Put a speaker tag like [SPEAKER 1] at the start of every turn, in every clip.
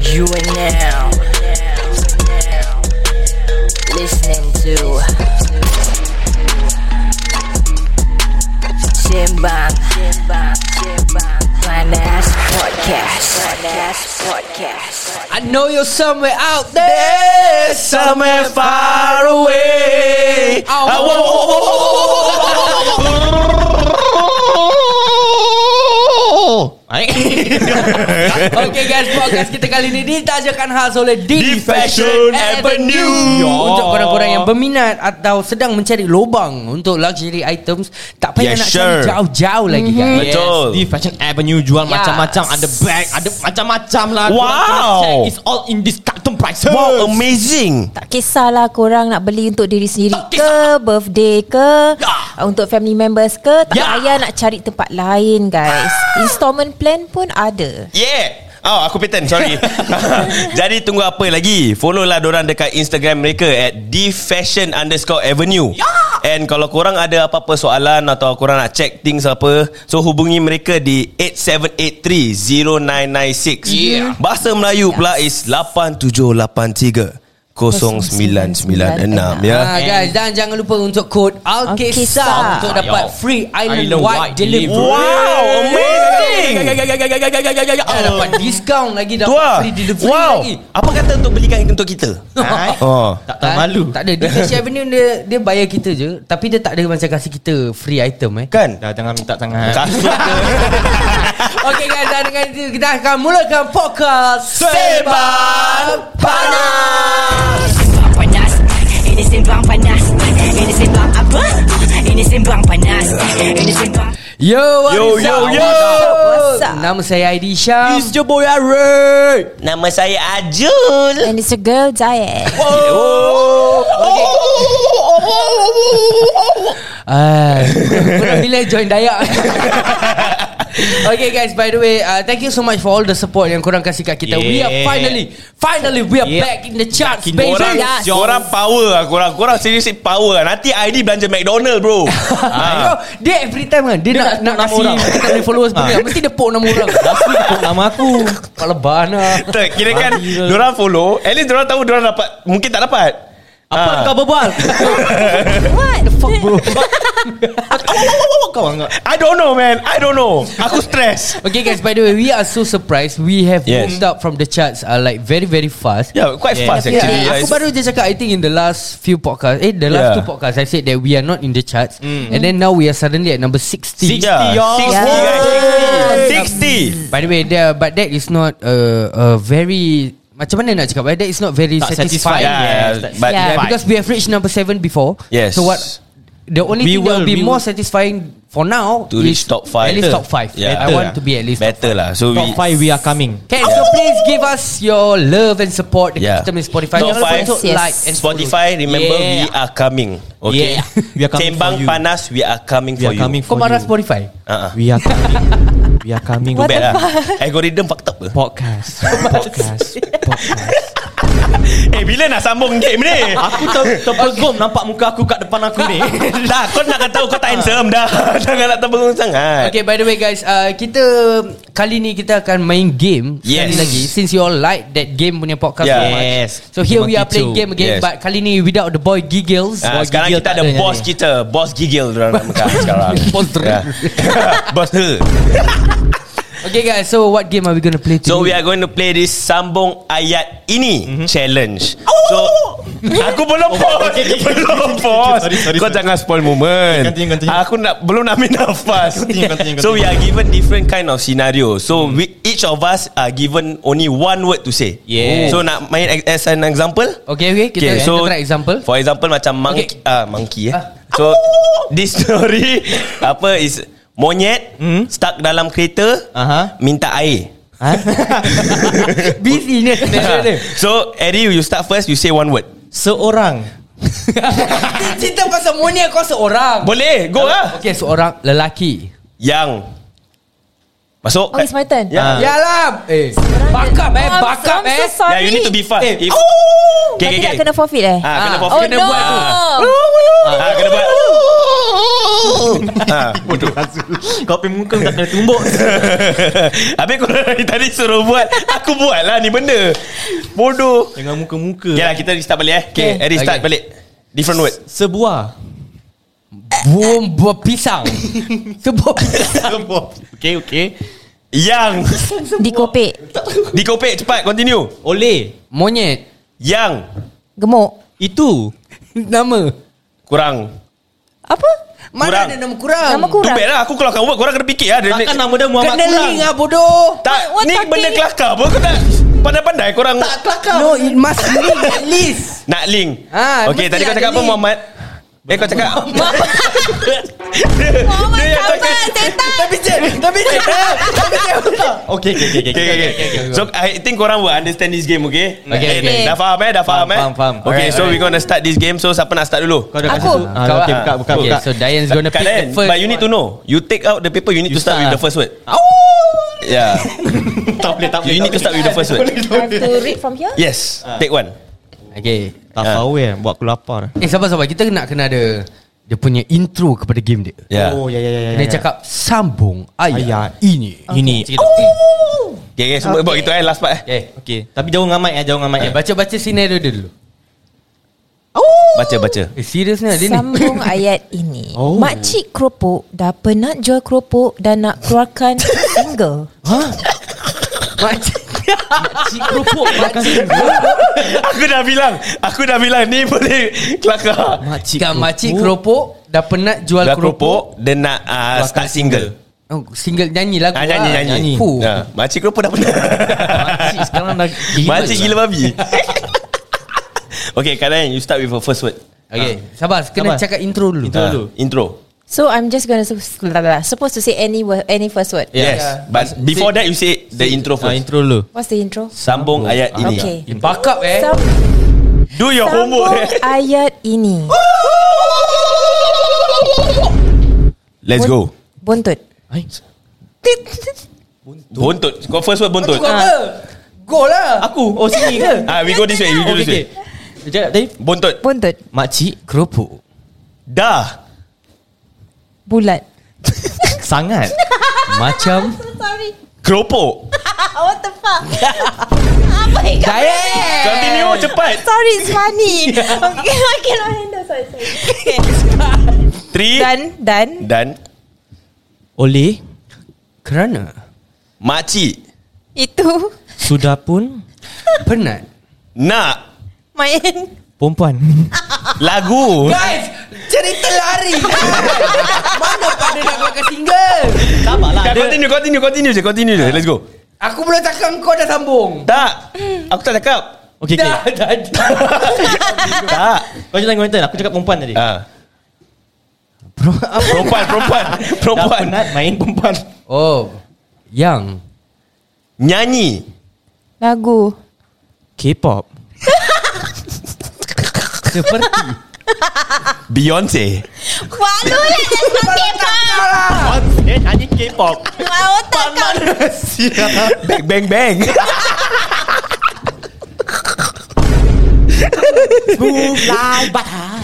[SPEAKER 1] You are now listening to Simbang Finance Podcast. Finance Podcast.
[SPEAKER 2] I know you're somewhere out there, somewhere far away. Oh, I Okay guys, podcast kita kali ini ditajakan khas oleh
[SPEAKER 3] Di
[SPEAKER 2] Di
[SPEAKER 3] Fashion
[SPEAKER 2] Fashion
[SPEAKER 3] Avenue.
[SPEAKER 2] Avenue. Ya, untuk korang-korang yang berminat atau sedang mencari lubang untuk luxury items, tak payah
[SPEAKER 3] Yes,
[SPEAKER 2] nak
[SPEAKER 3] sure.
[SPEAKER 2] cari jauh-jauh lagi guys.
[SPEAKER 3] Mhm. Betul.
[SPEAKER 4] Di Fashion Avenue jual
[SPEAKER 2] Yes.
[SPEAKER 4] macam-macam. Ada bag, ada macam-macam lah.
[SPEAKER 3] Wow.
[SPEAKER 4] Korang kena check. It's all in this carton prices.
[SPEAKER 3] Wow, amazing.
[SPEAKER 5] Tak kisahlah korang nak beli untuk diri sendiri
[SPEAKER 4] Tak
[SPEAKER 5] ke, birthday ke,
[SPEAKER 4] Ya.
[SPEAKER 5] untuk family members ke, tak
[SPEAKER 4] Ya.
[SPEAKER 5] payah nak cari tempat lain guys. Installment plan pun ada.
[SPEAKER 3] Yeah. Oh, aku patent, sorry. Jadi tunggu apa lagi? Follow lah dorang dekat Instagram mereka at thefashion underscore avenue. And kalau korang ada apa-apa soalan atau korang nak check things apa, so hubungi mereka di 8783-0996.
[SPEAKER 4] Yeah.
[SPEAKER 3] Bahasa Melayu pula is 8783. 0996
[SPEAKER 2] Ah,
[SPEAKER 3] ya.
[SPEAKER 2] guys dan jangan lupa untuk kod Alkisah
[SPEAKER 5] Alkisah.
[SPEAKER 2] untuk dapat
[SPEAKER 4] Yo.
[SPEAKER 2] free island
[SPEAKER 4] Island-wide
[SPEAKER 2] wide delivery.
[SPEAKER 4] delivery.
[SPEAKER 3] Wow, amazing.
[SPEAKER 2] Ah, dapat diskaun lagi dapat
[SPEAKER 3] Tua.
[SPEAKER 2] free delivery
[SPEAKER 3] Wow.
[SPEAKER 2] lagi. Ah,
[SPEAKER 3] Apa kata untuk belikan untuk kita? Oh.
[SPEAKER 4] Tak tahu malu.
[SPEAKER 2] Tak ada Di Fashion Avenue dia Dia bayar kita je Tapi dia tak ada macam Kasih kita free item eh
[SPEAKER 3] Kan?
[SPEAKER 4] Dah jangan minta sangat.
[SPEAKER 3] Kasut ke?
[SPEAKER 2] Okay guys Dan dengan itu Kita akan mulakan podcast
[SPEAKER 3] Sembang Panas
[SPEAKER 6] Simbang panas Ini simbang panas Ini simbang apa? Ini simbang panas Ini simbang
[SPEAKER 2] Yo what
[SPEAKER 3] Yo,
[SPEAKER 2] is
[SPEAKER 3] yo,
[SPEAKER 2] up?
[SPEAKER 3] yo.
[SPEAKER 2] What's
[SPEAKER 5] What's
[SPEAKER 2] up?
[SPEAKER 5] up?
[SPEAKER 2] Nama saya Aidy Syam
[SPEAKER 3] It's your boy Ari Nama saya Ajul
[SPEAKER 5] And it's a girl diet.
[SPEAKER 3] Oh
[SPEAKER 2] Ah, Korang bila join dayak Okay guys by the way uh, Thank you so much for all the support Yang korang kasih kat kita yeah. We are
[SPEAKER 4] Yeah.
[SPEAKER 2] finally Finally we are
[SPEAKER 4] Yeah.
[SPEAKER 2] yeah. back in the charts
[SPEAKER 4] Back in the
[SPEAKER 2] baby
[SPEAKER 3] Korang,
[SPEAKER 2] Yes.
[SPEAKER 3] korang power lah Korang, korang seriously power lah Nanti ID belanja McDonald bro
[SPEAKER 2] Ah. Yo,
[SPEAKER 3] ha.
[SPEAKER 2] Dia every time kan Dia, nak, nak, nak
[SPEAKER 4] Ah. nak nama
[SPEAKER 2] kasi
[SPEAKER 4] orang.
[SPEAKER 2] Kita punya followers banyak Mesti dia poke nama orang
[SPEAKER 4] Last week ikut nama aku.
[SPEAKER 2] Kepala lah. bana
[SPEAKER 3] Tak, Kira kan
[SPEAKER 4] Gila.
[SPEAKER 3] Diorang follow At least diorang tahu Diorang dapat Mungkin tak dapat Ah.
[SPEAKER 4] Apa kau berbual?
[SPEAKER 5] What? The fuck bro?
[SPEAKER 4] kau enggak.
[SPEAKER 3] I don't know man I don't know Aku stress
[SPEAKER 2] Okay guys by the way We are so surprised We have
[SPEAKER 3] Yes.
[SPEAKER 2] moved up from the charts uh, Like very very fast
[SPEAKER 3] Yeah quite
[SPEAKER 4] Yeah.
[SPEAKER 3] fast actually
[SPEAKER 2] Yeah,
[SPEAKER 3] Yeah,
[SPEAKER 2] aku
[SPEAKER 3] it's-
[SPEAKER 2] baru je cakap I think in the last few podcast Eh the last
[SPEAKER 3] Yeah.
[SPEAKER 2] two podcast I said that we are not in the charts mm. And then now we are suddenly at number 60
[SPEAKER 3] Yeah,
[SPEAKER 4] y'all.
[SPEAKER 3] 60 guys 60
[SPEAKER 2] By the way there, But that is not uh, a very Macam mana nak cakap But That is not very
[SPEAKER 4] Tak
[SPEAKER 2] satisfying
[SPEAKER 4] satisfied.
[SPEAKER 3] Yeah,
[SPEAKER 4] Yes,
[SPEAKER 3] but
[SPEAKER 5] Yeah.
[SPEAKER 2] yeah, Because we have reached number 7 before
[SPEAKER 3] Yes.
[SPEAKER 2] So what The only
[SPEAKER 4] We
[SPEAKER 2] thing that will
[SPEAKER 4] will-
[SPEAKER 2] be
[SPEAKER 4] we
[SPEAKER 2] more
[SPEAKER 4] will-
[SPEAKER 2] satisfying For now
[SPEAKER 3] to reach
[SPEAKER 2] is
[SPEAKER 3] top 5
[SPEAKER 2] At least top 5
[SPEAKER 3] yeah.
[SPEAKER 2] I
[SPEAKER 4] Better
[SPEAKER 2] want
[SPEAKER 4] lah.
[SPEAKER 2] to be at least top
[SPEAKER 3] better lah so we
[SPEAKER 4] Top 5 we are coming.
[SPEAKER 2] Okay, so please give us your love and support
[SPEAKER 3] Yeah.
[SPEAKER 2] dekat kita punya Spotify.
[SPEAKER 3] Top
[SPEAKER 2] Jangan lupa
[SPEAKER 3] five.
[SPEAKER 2] untuk
[SPEAKER 5] Yes.
[SPEAKER 2] like and
[SPEAKER 3] Spotify remember
[SPEAKER 2] Yeah.
[SPEAKER 3] yeah. we are coming okay
[SPEAKER 4] Yeah. We are coming
[SPEAKER 3] Tembang
[SPEAKER 4] for you.
[SPEAKER 3] panas we are coming
[SPEAKER 4] We
[SPEAKER 3] for
[SPEAKER 4] are
[SPEAKER 3] you
[SPEAKER 4] coming
[SPEAKER 2] follow. Kau
[SPEAKER 4] for
[SPEAKER 2] marah
[SPEAKER 4] you. Ah.
[SPEAKER 2] Spotify?
[SPEAKER 3] uh-huh.
[SPEAKER 4] We are coming. We are coming.
[SPEAKER 3] Too bad lah Algorithm fucked up ke
[SPEAKER 4] Podcast. Podcast. Podcast.
[SPEAKER 3] Eh bila nak sambung game ni
[SPEAKER 4] Aku ter- terpegum nampak muka aku kat depan aku ni.
[SPEAKER 3] Dah kau nak kata kau tak handsome dah Jangan nak terbengong sangat
[SPEAKER 2] Okay, by the way guys, uh, kita kali ni kita akan main game sekali
[SPEAKER 3] Yes.
[SPEAKER 2] lagi. Since you all like that game punya podcast
[SPEAKER 3] Yeah.
[SPEAKER 2] so much.
[SPEAKER 4] Yes.
[SPEAKER 2] So here we
[SPEAKER 4] Memang
[SPEAKER 2] are playing
[SPEAKER 4] gitu.
[SPEAKER 2] game again
[SPEAKER 3] Yes.
[SPEAKER 2] but kali ni without the boy giggles.
[SPEAKER 3] Ah,
[SPEAKER 2] Boy
[SPEAKER 3] sekarang
[SPEAKER 2] Giggle
[SPEAKER 3] kita
[SPEAKER 2] tak
[SPEAKER 3] ada
[SPEAKER 2] yang
[SPEAKER 3] bos
[SPEAKER 2] ni.
[SPEAKER 3] kita Bos gigil dorang namakan sekarang
[SPEAKER 2] Bos Dre.
[SPEAKER 3] Ya. Bos her
[SPEAKER 2] Okay guys, so what game are we going to play today?
[SPEAKER 3] So we are going to play this Sambung ayat ini
[SPEAKER 4] Mhm.
[SPEAKER 3] Challenge So Aku belum
[SPEAKER 4] Oh,
[SPEAKER 3] pause Belum pause
[SPEAKER 4] Sorry, sorry,
[SPEAKER 3] Kau
[SPEAKER 4] sorry.
[SPEAKER 3] jangan spoil moment
[SPEAKER 4] Continue, continue.
[SPEAKER 3] Aku nak Belum nak ambil nafas
[SPEAKER 4] Continue, continue, Mhm.
[SPEAKER 3] So we
[SPEAKER 4] continue.
[SPEAKER 3] are given different kind of scenario So we, each of us Are given only one word to say
[SPEAKER 4] Yes.
[SPEAKER 3] So nak main ex- as an example
[SPEAKER 2] Okay, okay, kita okay, so, try example.
[SPEAKER 3] For example macam monkey, okay. monkey eh.
[SPEAKER 2] Ah.
[SPEAKER 3] So this story apa is monyet
[SPEAKER 4] Hmm.
[SPEAKER 3] stuck dalam kereta
[SPEAKER 4] Aha.
[SPEAKER 3] minta air.
[SPEAKER 4] Ha?
[SPEAKER 2] Busy ni scenario dia.
[SPEAKER 3] so Eddie you start first you say one word.
[SPEAKER 4] Seorang
[SPEAKER 2] Cerita pasal monyet kau seorang.
[SPEAKER 3] Boleh go lah.
[SPEAKER 2] Okay, seorang lelaki.
[SPEAKER 3] Yang masuk.
[SPEAKER 5] Oh, it's my turn.
[SPEAKER 3] Ya.
[SPEAKER 4] Ah.
[SPEAKER 2] Yalah. Eh,
[SPEAKER 5] Orang
[SPEAKER 2] bakap
[SPEAKER 5] dia-
[SPEAKER 2] eh,
[SPEAKER 5] I'm-
[SPEAKER 2] bakap
[SPEAKER 5] I'm
[SPEAKER 2] eh.
[SPEAKER 5] so sorry.
[SPEAKER 3] Yeah, Ya, you need to be fast.
[SPEAKER 4] Eh,
[SPEAKER 3] If,
[SPEAKER 5] Okay, okay, Kena forfeit eh?
[SPEAKER 3] Ah, kena
[SPEAKER 2] Ah.
[SPEAKER 3] forfeit.
[SPEAKER 5] Oh
[SPEAKER 3] kena
[SPEAKER 5] no.
[SPEAKER 3] buat tu. Ah, kena buat. aku ha.
[SPEAKER 4] Bodoh Kau pergi muka tak kena tumbuk
[SPEAKER 3] Habis korang dari tadi suruh buat Aku buat lah ni benda Bodoh
[SPEAKER 4] Dengan muka-muka
[SPEAKER 3] Yalah kita restart balik eh Okay,
[SPEAKER 2] Okay.
[SPEAKER 3] okay. restart
[SPEAKER 2] Okay.
[SPEAKER 3] balik Different word
[SPEAKER 4] Sebuah
[SPEAKER 2] Eh. Buah buah pisang. Sebuah pisang.
[SPEAKER 4] Okay okay
[SPEAKER 3] Yang
[SPEAKER 5] Dikopek
[SPEAKER 3] Dikopek cepat continue
[SPEAKER 4] Oleh
[SPEAKER 2] Monyet.
[SPEAKER 3] Yang
[SPEAKER 5] Gemuk
[SPEAKER 4] Itu
[SPEAKER 2] Nama.
[SPEAKER 3] Kurang
[SPEAKER 5] Apa?
[SPEAKER 2] Mana
[SPEAKER 3] Kurang.
[SPEAKER 2] ada nama kurang?
[SPEAKER 5] Nama
[SPEAKER 3] Tu
[SPEAKER 5] kurang
[SPEAKER 3] bad lah Aku keluarkan word Korang kena fikir lah dari
[SPEAKER 4] Takkan
[SPEAKER 3] next-
[SPEAKER 4] nama dia Muhammad
[SPEAKER 2] Kena
[SPEAKER 4] Kurang
[SPEAKER 2] link lah bodoh.
[SPEAKER 3] Tak
[SPEAKER 5] What- what
[SPEAKER 3] Ni
[SPEAKER 5] talking?
[SPEAKER 3] benda kelakar pun Kau tak Pandai-pandai korang
[SPEAKER 2] Tak kelakar. No, it must link at least.
[SPEAKER 3] Nak link
[SPEAKER 2] Ah,
[SPEAKER 3] Okay
[SPEAKER 2] mesti
[SPEAKER 3] tadi kau
[SPEAKER 2] ada
[SPEAKER 3] cakap apa
[SPEAKER 2] link.
[SPEAKER 3] Muhammad Eh kau cakap Muhammad
[SPEAKER 2] Tapi je, tapi je. Tapi je.
[SPEAKER 4] Okay okay okay, okay.
[SPEAKER 3] Okay, okay, okay, okay. So I think korang will understand this game, okay?
[SPEAKER 2] Okay,
[SPEAKER 3] Eh,
[SPEAKER 5] okay.
[SPEAKER 3] Dah faham eh? Dah faham, eh?
[SPEAKER 2] Faham, faham, faham.
[SPEAKER 3] Okay,
[SPEAKER 2] Alright,
[SPEAKER 3] so we
[SPEAKER 2] alright.
[SPEAKER 3] gonna start this game. So siapa nak start dulu?
[SPEAKER 4] Kau dah
[SPEAKER 5] Aku.
[SPEAKER 4] kasi tu Ah, Okay buka buka
[SPEAKER 2] Okay,
[SPEAKER 4] buka
[SPEAKER 2] so Diane's gonna
[SPEAKER 3] Kat
[SPEAKER 2] pick the
[SPEAKER 3] Dian,
[SPEAKER 2] first.
[SPEAKER 3] But you need to know. You take out the paper. You need
[SPEAKER 2] You
[SPEAKER 3] to start, with
[SPEAKER 2] start.
[SPEAKER 3] the first word. Yeah.
[SPEAKER 4] Tak boleh tak boleh
[SPEAKER 3] you need to start with the first word.
[SPEAKER 5] I have to read from here
[SPEAKER 3] Yes. Take one.
[SPEAKER 2] Okay.
[SPEAKER 4] Tak tahu eh Buat aku lapar
[SPEAKER 2] Eh, sabar-sabar. Kita nak kena ada dia punya intro kepada game dia.
[SPEAKER 3] Yeah.
[SPEAKER 4] Oh ya ya ya ya,
[SPEAKER 2] Kena
[SPEAKER 4] ya.
[SPEAKER 2] cakap sambung ayat,
[SPEAKER 4] Ayat.
[SPEAKER 2] ini. Oh!
[SPEAKER 4] Ini
[SPEAKER 3] Okay, okay. Semua buat gitu eh. Last part eh.
[SPEAKER 2] Okay.
[SPEAKER 4] Okay Tapi jauh dengan mic eh Jauh dengan mic
[SPEAKER 2] Okay,
[SPEAKER 4] eh
[SPEAKER 2] baca-baca scenario dia dulu.
[SPEAKER 3] Baca, baca.
[SPEAKER 2] Eh, seriusnya dia ni.
[SPEAKER 5] Sambung ayat ini oh.
[SPEAKER 4] Oh.
[SPEAKER 5] Makcik keropok Dah penat jual keropok Dan nak keluarkan single
[SPEAKER 4] Cik kerupuk Makan
[SPEAKER 3] Aku dah bilang. Aku dah bilang. Ni boleh kelakar.
[SPEAKER 4] Makcik
[SPEAKER 2] Kan makcik keropok dah penat jual
[SPEAKER 3] Dah
[SPEAKER 2] keropok.
[SPEAKER 3] keropok. Dia nak ah,
[SPEAKER 4] Keluarkan
[SPEAKER 3] start single.
[SPEAKER 2] Oh, single nyanyi lagu.
[SPEAKER 3] Ah, nyanyi,
[SPEAKER 2] lah.
[SPEAKER 3] nyanyi.
[SPEAKER 4] nyanyi.
[SPEAKER 2] Fuh.
[SPEAKER 3] Ya. Makcik keropok dah pernah.
[SPEAKER 4] Makcik sekarang dah gila
[SPEAKER 3] Makcik gila babi. okay, Karen, you start with a first word.
[SPEAKER 2] Okay, sabar. Kena
[SPEAKER 4] Sabar.
[SPEAKER 2] cakap intro dulu.
[SPEAKER 4] Intro.
[SPEAKER 3] Ah,
[SPEAKER 4] dulu.
[SPEAKER 3] intro.
[SPEAKER 5] So I'm just gonna Supposed to say any word, any first word
[SPEAKER 4] Eh. Ya.
[SPEAKER 3] Yes. But before that, you say the intro
[SPEAKER 4] Ah,
[SPEAKER 3] first.
[SPEAKER 4] intro dulu
[SPEAKER 5] What's the intro?
[SPEAKER 3] Sambung ayat ini.
[SPEAKER 5] Okay
[SPEAKER 2] Eh, Bakap eh.
[SPEAKER 5] Sam-
[SPEAKER 3] Do your
[SPEAKER 5] Sambung
[SPEAKER 3] homework. eh.
[SPEAKER 5] ayat ini
[SPEAKER 3] Let's go.
[SPEAKER 5] Buntut
[SPEAKER 3] Buntut. Kau first word buntut.
[SPEAKER 2] Kau
[SPEAKER 5] Ah,
[SPEAKER 2] apa? Go lah.
[SPEAKER 4] Aku Oh sini Oh, ke
[SPEAKER 3] Ah, we go this way. We go
[SPEAKER 4] Okay
[SPEAKER 3] this
[SPEAKER 4] okay
[SPEAKER 3] way.
[SPEAKER 4] Sekejap tadi
[SPEAKER 3] Buntut.
[SPEAKER 5] Buntut
[SPEAKER 4] Makcik
[SPEAKER 2] Keropok.
[SPEAKER 3] Dah.
[SPEAKER 5] Bulat
[SPEAKER 4] Sangat
[SPEAKER 2] Macam
[SPEAKER 5] Sorry
[SPEAKER 3] Keropok.
[SPEAKER 5] What the fuck Apa yang kau
[SPEAKER 3] Continue cepat.
[SPEAKER 5] Sorry it's funny okay, I cannot handle Sorry sorry okay.
[SPEAKER 3] Three.
[SPEAKER 5] Dan Dan
[SPEAKER 3] Dan.
[SPEAKER 4] Oleh
[SPEAKER 2] kerana
[SPEAKER 3] Makcik.
[SPEAKER 5] Itu
[SPEAKER 4] Sudah pun
[SPEAKER 2] penat.
[SPEAKER 3] Nak.
[SPEAKER 5] Main
[SPEAKER 4] Perempuan
[SPEAKER 3] Lagu.
[SPEAKER 2] Guys, cerita lari. Mana pada nak keluarkan single?
[SPEAKER 4] Sabar lah
[SPEAKER 3] Dah, continue, continue, continue je. Continue je. Let's go.
[SPEAKER 2] Aku belum cakap kau dah sambung.
[SPEAKER 3] Tak. Aku tak cakap.
[SPEAKER 4] Okay okay
[SPEAKER 2] Dah, dah, dah.
[SPEAKER 3] Tak.
[SPEAKER 4] Kau jangan komentar Aku cakap perempuan tadi
[SPEAKER 3] Ah. Perempuan, perempuan.
[SPEAKER 4] Dah
[SPEAKER 3] Perempuan.
[SPEAKER 4] penat main perempuan
[SPEAKER 2] Oh, yang
[SPEAKER 3] Nyanyi.
[SPEAKER 5] Lagu
[SPEAKER 4] K-pop
[SPEAKER 2] seperti
[SPEAKER 3] Beyonce.
[SPEAKER 5] Malu lah Just pakai
[SPEAKER 4] Eh nyanyi K-pop
[SPEAKER 5] Mau tak kau
[SPEAKER 3] Bang bang bang.
[SPEAKER 5] Lai batang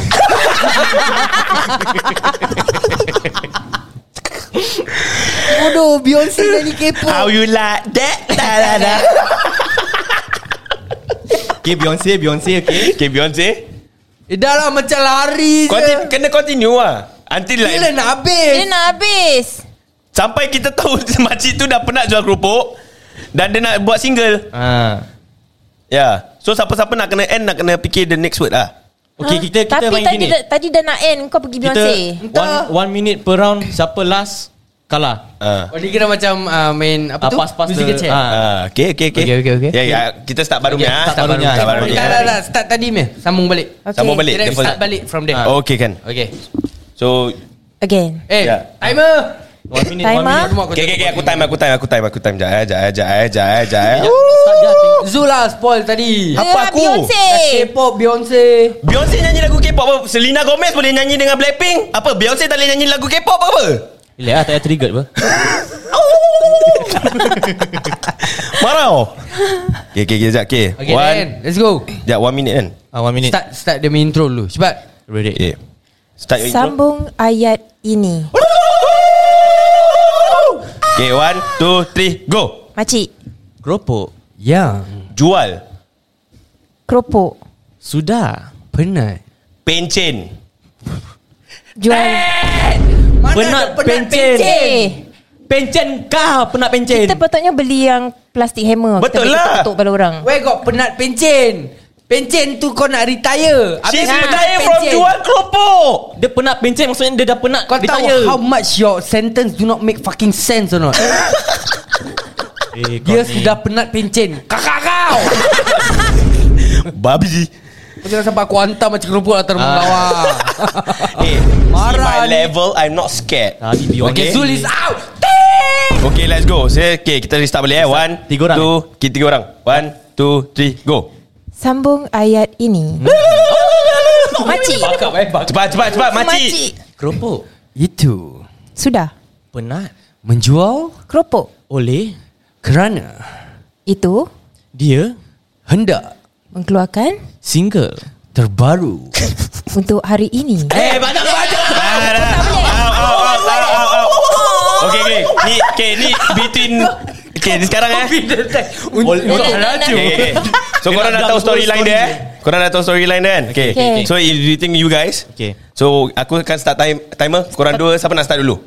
[SPEAKER 2] Bodoh Beyonce nyanyi kepo
[SPEAKER 3] How you like that? Da, da, da.
[SPEAKER 4] Okay Beyonce Beyonce okay
[SPEAKER 3] Okay Beyonce.
[SPEAKER 2] Eh dah lah macam lari
[SPEAKER 3] Continue,
[SPEAKER 2] je
[SPEAKER 3] kena continue lah. Until like
[SPEAKER 2] Bila nak
[SPEAKER 5] Dia
[SPEAKER 2] habis
[SPEAKER 5] nak habis
[SPEAKER 3] sampai kita tahu makcik tu dah penat jual kerupuk dan dia nak buat single.
[SPEAKER 4] Ah.
[SPEAKER 3] Ya. Yeah. So siapa-siapa nak kena end nak kena fikir the next word lah.
[SPEAKER 5] Ha?
[SPEAKER 4] Okay kita
[SPEAKER 5] Tapi
[SPEAKER 4] kita main
[SPEAKER 5] tadi
[SPEAKER 4] gini
[SPEAKER 5] dah, tadi dah nak end Kau pergi
[SPEAKER 4] Kita
[SPEAKER 5] Beyonce
[SPEAKER 4] one, one minute per round Siapa last Kalah
[SPEAKER 3] Ah.
[SPEAKER 2] Oh dia kira macam uh, main apa
[SPEAKER 4] Ah,
[SPEAKER 2] tu?
[SPEAKER 4] pass-pass
[SPEAKER 2] Musical
[SPEAKER 4] the-
[SPEAKER 2] chair
[SPEAKER 4] ah.
[SPEAKER 3] Ah, okay, okay, okay.
[SPEAKER 2] Okay, okay, okay.
[SPEAKER 3] Ya, ya, kita start baru
[SPEAKER 2] Okay,
[SPEAKER 3] okay, ah.
[SPEAKER 2] start
[SPEAKER 4] baru,
[SPEAKER 3] Start
[SPEAKER 4] start
[SPEAKER 3] baru.
[SPEAKER 4] baru.
[SPEAKER 2] Dah dah dah Start tadi meh Sambung balik
[SPEAKER 5] Okay.
[SPEAKER 3] Sambung balik.
[SPEAKER 2] Kita
[SPEAKER 3] the first
[SPEAKER 2] start
[SPEAKER 3] word.
[SPEAKER 2] balik from there
[SPEAKER 3] Ah, Okay kan.
[SPEAKER 2] Okay
[SPEAKER 3] So
[SPEAKER 5] Again
[SPEAKER 2] Eh
[SPEAKER 3] Yeah.
[SPEAKER 2] timer
[SPEAKER 4] One minute
[SPEAKER 5] Timer.
[SPEAKER 4] One minute
[SPEAKER 2] Aku mau
[SPEAKER 3] Ya. Ah. Okay, okay, okay, aku time, aku time, aku time, aku time. eh, Jaya, jaya, jaya, jaya, jaya.
[SPEAKER 4] Ya, Start je tengok.
[SPEAKER 2] Zula lah, spoil tadi
[SPEAKER 3] Apa
[SPEAKER 5] Ah,
[SPEAKER 3] aku?
[SPEAKER 5] Beyonce
[SPEAKER 2] Dah K-pop Beyonce
[SPEAKER 3] Beyonce nyanyi lagu K-pop apa? Selena Gomez boleh nyanyi dengan Blackpink? Apa? Beyonce tak boleh nyanyi lagu K-pop apa?
[SPEAKER 4] Relax lah tak payah trigger apa
[SPEAKER 3] Marah oh. Okay, okay, okay, sekejap. Okay.
[SPEAKER 2] Okay
[SPEAKER 3] one,
[SPEAKER 2] then Let's go
[SPEAKER 3] sekejap, one minute kan?
[SPEAKER 4] ah, One minute
[SPEAKER 2] Start start dia main intro dulu Cepat
[SPEAKER 4] Ready
[SPEAKER 3] Okay. Start your intro.
[SPEAKER 5] Sambung ayat ini.
[SPEAKER 3] Okay one two three go
[SPEAKER 5] Makcik,
[SPEAKER 2] Keropok Ya
[SPEAKER 3] Jual
[SPEAKER 5] keropok.
[SPEAKER 4] Sudah.
[SPEAKER 2] Penat
[SPEAKER 3] Pencen
[SPEAKER 5] Jual.
[SPEAKER 4] Penat pencen.
[SPEAKER 5] Eh,
[SPEAKER 4] Pencen kah penat pencen.
[SPEAKER 5] kita patutnya beli yang plastik hammer.
[SPEAKER 3] Betul
[SPEAKER 5] kita
[SPEAKER 3] lah.
[SPEAKER 5] Untuk pada orang.
[SPEAKER 2] Where got penat pencen Pencen tu kau nak retire
[SPEAKER 3] She's
[SPEAKER 2] kau penat
[SPEAKER 3] retire from
[SPEAKER 2] pencen.
[SPEAKER 3] jual keropok
[SPEAKER 4] Dia penat pencen maksudnya dia dah penat
[SPEAKER 2] Kau tahu
[SPEAKER 4] retire.
[SPEAKER 2] how much your sentence do not make fucking sense or not
[SPEAKER 4] Eh, kau
[SPEAKER 2] Dia
[SPEAKER 4] ni.
[SPEAKER 2] sudah penat pencen Kakak kau
[SPEAKER 3] Babi
[SPEAKER 2] Kau jangan sampai aku hantar macam keropok atas rumah lawa
[SPEAKER 3] Hey
[SPEAKER 2] Marah
[SPEAKER 3] See my
[SPEAKER 2] ni.
[SPEAKER 3] level I'm not scared
[SPEAKER 4] Tadi dia
[SPEAKER 3] Okay.
[SPEAKER 2] Zul is out
[SPEAKER 3] Okay let's go Saya Okay kita restart balik eh One
[SPEAKER 4] Tiga orang.
[SPEAKER 3] Two okay, Tiga orang One Two Three Go
[SPEAKER 5] Sambung ayat ini. Makcik,
[SPEAKER 4] Bakap eh bakap.
[SPEAKER 3] Cepat cepat cepat
[SPEAKER 5] makcik.
[SPEAKER 3] Makcik
[SPEAKER 4] Keropok
[SPEAKER 2] Itu
[SPEAKER 5] Sudah.
[SPEAKER 4] penat
[SPEAKER 2] Menjual
[SPEAKER 5] Keropok.
[SPEAKER 4] oleh
[SPEAKER 2] kerana
[SPEAKER 5] Itu
[SPEAKER 4] dia
[SPEAKER 2] Hendak
[SPEAKER 5] mengeluarkan
[SPEAKER 4] single.
[SPEAKER 2] terbaru
[SPEAKER 5] untuk hari ini.
[SPEAKER 3] Eh banyak banyak ah, Okay okay Ni Okay ni Between Okay ni sekarang eh
[SPEAKER 4] Oleh
[SPEAKER 3] Okay, okay. So korang dah tahu storyline dia eh Korang dah tahu storyline dia kan Okay,
[SPEAKER 5] Okay.
[SPEAKER 3] okay. So you you think you guys
[SPEAKER 4] Okay.
[SPEAKER 3] So aku akan start time, timer Korang dua Siapa nak start dulu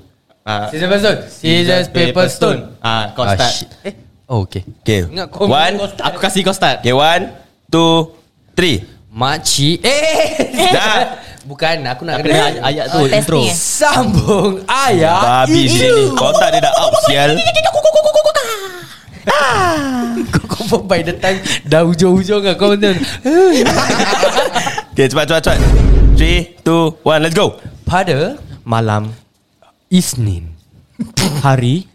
[SPEAKER 4] Ah,
[SPEAKER 2] Scissors paper stone Scissors paper stone
[SPEAKER 4] Ah, kau
[SPEAKER 2] Ah,
[SPEAKER 4] start.
[SPEAKER 2] shit. Eh Oh okay
[SPEAKER 3] Okay
[SPEAKER 2] Ingat kau-
[SPEAKER 3] One
[SPEAKER 2] kau
[SPEAKER 4] Aku kasih kau start.
[SPEAKER 3] Okay one Two Three
[SPEAKER 2] Makcik Eh
[SPEAKER 3] Dah.
[SPEAKER 2] Bukan aku nak
[SPEAKER 4] Kena
[SPEAKER 2] kena
[SPEAKER 4] ay- ayat tu
[SPEAKER 5] Oh,
[SPEAKER 4] intro.
[SPEAKER 5] testing eh.
[SPEAKER 2] Sambung ayat
[SPEAKER 3] Babi sini ni Kotak dia dah out sial
[SPEAKER 2] Kau confirm by the time Dah hujung-hujung kan Kau macam
[SPEAKER 3] Okay cepat cepat cepat Three Two One let's go
[SPEAKER 2] Pada
[SPEAKER 4] Malam
[SPEAKER 2] Isnin
[SPEAKER 4] hari